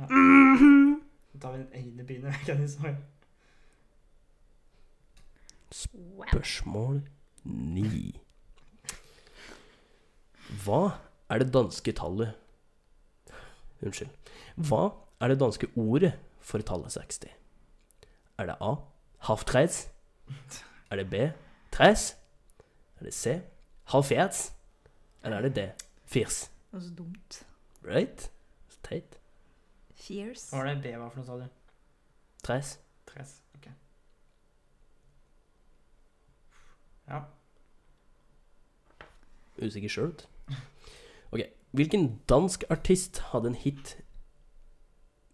Da tar vi den ene byen *laughs* jeg kan svare.
Wow.
Spørsmål 9. Hva er det danske tallet Unnskyld. Hva er det danske ordet for tallet 60? Er det A. Halvtreis? Er det B. Treis? Er det C. Halvfjerds? Eller er det D. Firs?
Og så dumt.
Right? Så teit.
Fierce.
Hva var det B var for noe, sa du?
Treis.
Tres. Ok. Ja.
Usikker sjøl, vet du. Ok. Hvilken dansk artist hadde en hit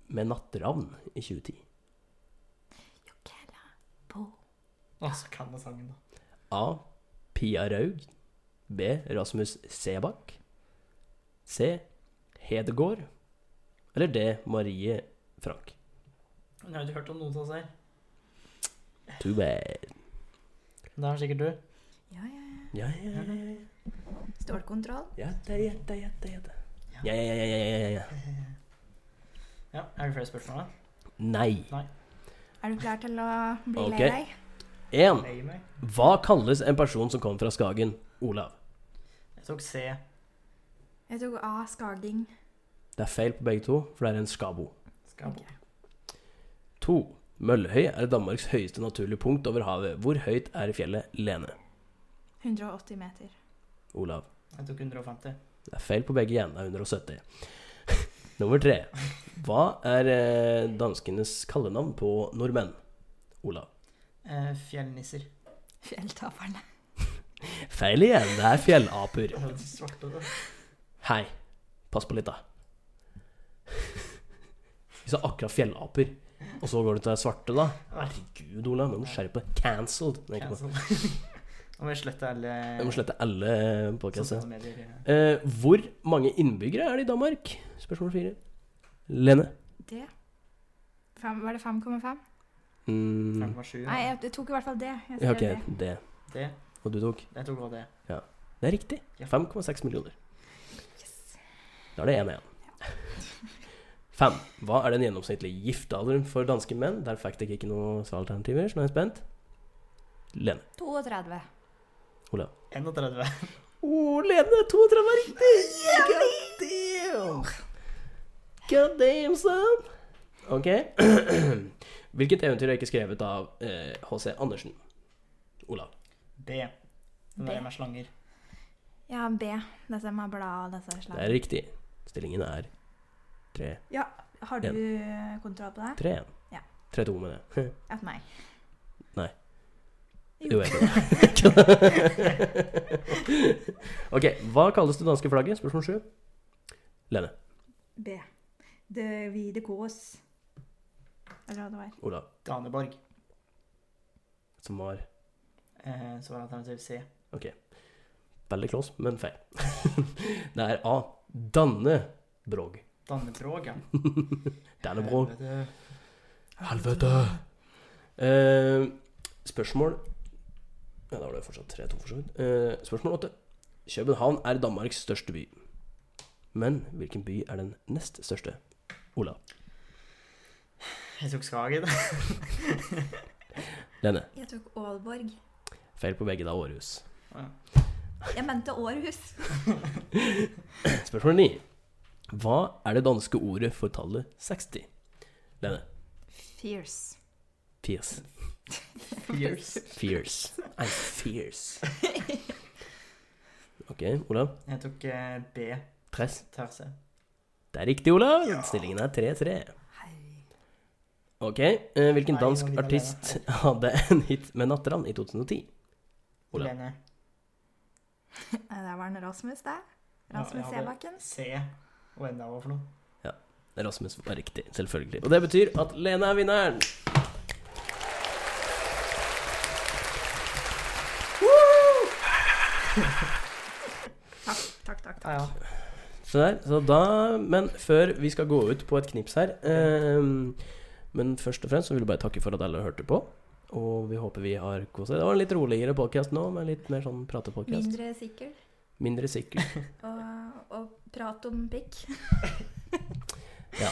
med 'Natteravn' i 2010?
Jokela. Bo.
Og så kan jeg sangen, da.
A. Pia Raug. B. Rasmus Sebakk. C. Hedegård. Eller D. Marie Frank.
sånn Men Jeg har ikke hørt om noen av oss her.
Too bad.
Det har sikkert du.
Ja, ja, ja.
Ja, ja, ja, ja, ja.
Stålkontroll.
Gjette, gjette, gjette, gjette. Ja, ja, ja, ja, ja, ja, ja.
Ja, Er det flere spørsmål? da?
Nei.
Er du klar til å bli
Ok.
lei deg?
En.
Jeg gir meg.
Hva kalles en person som kom fra Skagen? Olav.
Jeg tok C.
Jeg tok A. Skaging.
Det er feil på begge to, for det er en skabo.
Skabo.
Ok.
To. Møllehøy er Danmarks høyeste naturlige punkt over havet. Hvor høyt er fjellet Lene?
180 meter.
Olav.
Jeg tok 150.
Det er feil på begge igjen. Det er 170. *laughs* Nummer tre. Hva er eh, danskenes kallenavn på nordmenn? Olav.
Eh, fjellnisser.
Fjelltaperne.
Feil igjen. Det er fjellaper.
Åh, det er svart over.
Hei. Pass på litt, da. *laughs* Vi sa akkurat fjellaper, og så går du til det svarte, da. Herregud, Olav. Nå må du skjerpe deg. Cancelled. Nei, ikke på.
Cancel. *laughs* Nå må jeg slette alle
Jeg må slette alle eh, podkaster.
sosiale medier. ja.
Eh, hvor mange innbyggere er det i Danmark? Spørsmål fire. Lene?
Det. Fem, var det 5,5?
Mm,
5,7.
Nei, jeg, jeg tok i hvert fall det. Jeg
ja,
skrev
ok,
det.
det.
Det.
Og du tok?
Jeg tok hva det.
Det er riktig.
Ja.
5,6 millioner.
Yes.
Da er det 1 igjen. Fem. Hva er den gjennomsnittlige giftealderen for danske menn? Der fikk dere ikke noe svaralternativer, så nå er jeg spent. Lene.
32.
Olav.
31.
Å, Lene! 32 er riktig! God damn! God damn, son! Ok. *clears throat* Hvilket eventyr er ikke skrevet av eh, H.C. Andersen? Olav.
B. Den
B.
der med slanger.
Ja, B. Dette med blad og disse
Det er
slagene.
riktig. Stillingen er 3-1.
Har du eh, kontroll på det?
3-1.
Ja.
3-2 med det.
At meg.
Nei.
Jo.
Jo, jeg *laughs* vet det. ok, hva kalles det danske flagget? Spørsmål 7. Lene.
B. Det hvite kors. Eller hva det var.
Olav.
Daneborg.
Som var
Eh, så var alternativ C.
veldig close, men feil. *laughs* det er A. Dannebrog.
Dannebrog, ja.
Dannebrog.
Helvete.
Helvete! Eh, spørsmål Ja, da var det fortsatt 3-2, for så vidt. Eh, spørsmål 8. København er Danmarks største by. Men hvilken by er den nest største? Olav.
Jeg tok *laughs* Skagen.
Lene.
Jeg tok Aalborg.
Feil på begge, da. Århus.
Jeg mente Århus.
Spørsmål 9. Hva er det danske ordet for tallet 60? Lene.
Fierce.
Fierce.
Years.
Fierce. I'm fierce. Ok, Olav.
Jeg tok eh, B.
Tress.
Terse.
Det er riktig, Olav. Stillingen er 3-3. Ok. eh, Hvilken
Nei,
dansk
nå vil jeg
artist hadde en hit med 'Natteravn' i 2010? Olav.
Lene.
Nei, Der var den Rasmus, der.
Ja,
Rasmus
jeg hadde
Sebakken.
C. Og enda hva for noe?
Rasmus var riktig, selvfølgelig. Og det betyr at Lene er vinneren.
Takk, takk, takk. takk.
Ja, ja.
Så der, så da, men før vi skal gå ut på et knips her eh, Men først og fremst så vil jeg bare takke for at alle hørte på. Og vi håper vi har kost oss. Det var en litt roligere podcast nå, med litt mer sånn pratepodkast.
Mindre sikker.
Mindre sikker.
Og, og prat om pikk.
Jo,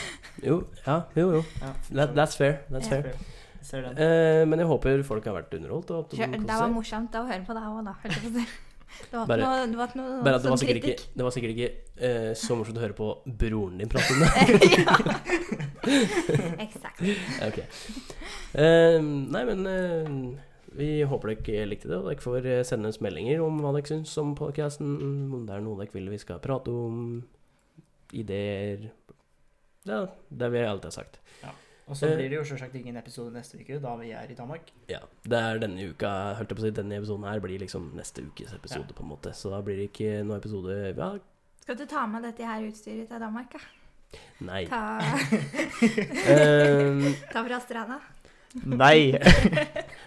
ja, jo, jo.
ja.
That, that's fair. That's
Ja.
fair.
Jeg Ser den.
Eh, men jeg håper folk har vært underholdt. Og at de
Kjør,
koser
det var
seg.
morsomt å høre på deg òg, da. hørte jeg på det. sånn. Det var
Bare-
ikke noe, det var ikke noe
Bare at det var
sånn
sikkert ikke,
kritikk.
det var sikkert ikke eh, så morsomt å høre på broren din prate
*laughs*
*laughs* om det.
ja. Exakt.
Ok. Eh, nei, men eh, vi håper dere likte det, og dere får eh, sende oss meldinger om hva dere syns om podkasten. Om det er noe dere vil vi skal prate om. Ideer Ja, det vil jeg alltid ha sagt.
Og så
eh.
blir det jo selvsagt ingen episode neste uke, da vi er i Danmark.
Ja, det er denne uka holdt jeg på å si, Denne episoden her blir liksom neste ukes episode, på en måte. Så da blir det ikke noen episode ja,
Skal du ta med dette her utstyret til Danmark, da?
Nei.
Ta,
Eh,
*laughs* ta fra stranda?
Nei!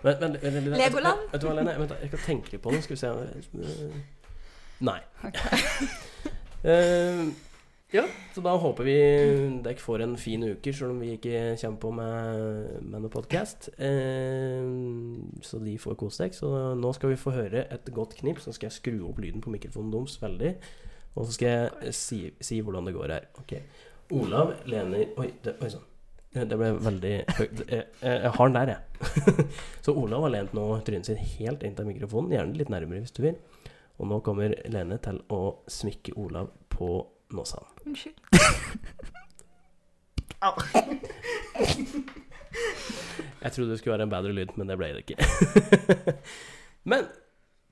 Men, men, men, men,
Legoland?
Vet du hva, Lene? Vent, da, jeg skal tenke litt på det. Skal vi se Eh, Nei. Eh, Så da håper vi dere får en fin uke, selv om vi ikke kommer på med, med noe podkast. Eh, så de får kose seg. Så nå skal vi få høre et godt knips, så skal jeg skru opp lyden på mikrofonen deres veldig. Og så skal jeg si, si hvordan det går her. Ok. Olav lener Oi, det, oi sann. Det det ble veldig høyt. Jeg, jeg har den der, jeg. så Olav har lent nå trynet sitt helt inntil mikrofonen, gjerne litt nærmere hvis du vil. Og nå kommer Lene til å smykke Olav på nåsa.
Unnskyld.
Jeg trodde det skulle være en bedre lyd, men det ble det *laughs* ikke. men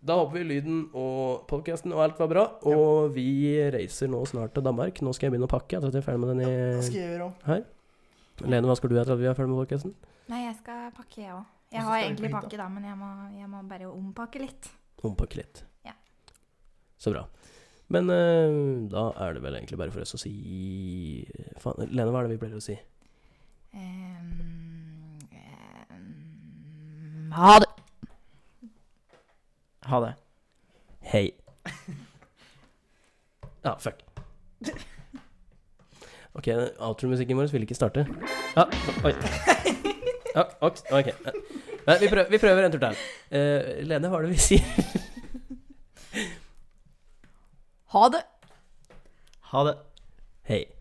da håper vi lyden og podkasten og alt var bra. Og vi reiser nå snart til Danmark. Nå skal jeg begynne å pakke. etter at Jeg er ferdig med den
Hva
i
skal jeg gjøre òg?
Lene, hva skal du etter at vi er ferdig med podkasten?
Nei, jeg skal pakke, jeg òg.
Og så
Jeg har
skal vi
egentlig
på hytta.
pakke, da, men jeg må, jeg må bare ompakke litt.
Ompakke litt.
Ja.
Så bra. Men eh, da er det vel egentlig bare for oss å si Faen, Lene, hva er det vi pleier å si?
Ehm, ehm, ha det!
Ha det.
Hei. *laughs* Ja, fuck. *laughs* Ok, outro-musikken vår vil ikke starte. Ja, oi. Ja, ok. ok. Nei, vi, prøver, vi prøver en tur til. Eh, Lene, hva er det vi sier?
Ha det!
Ha det.
Hei.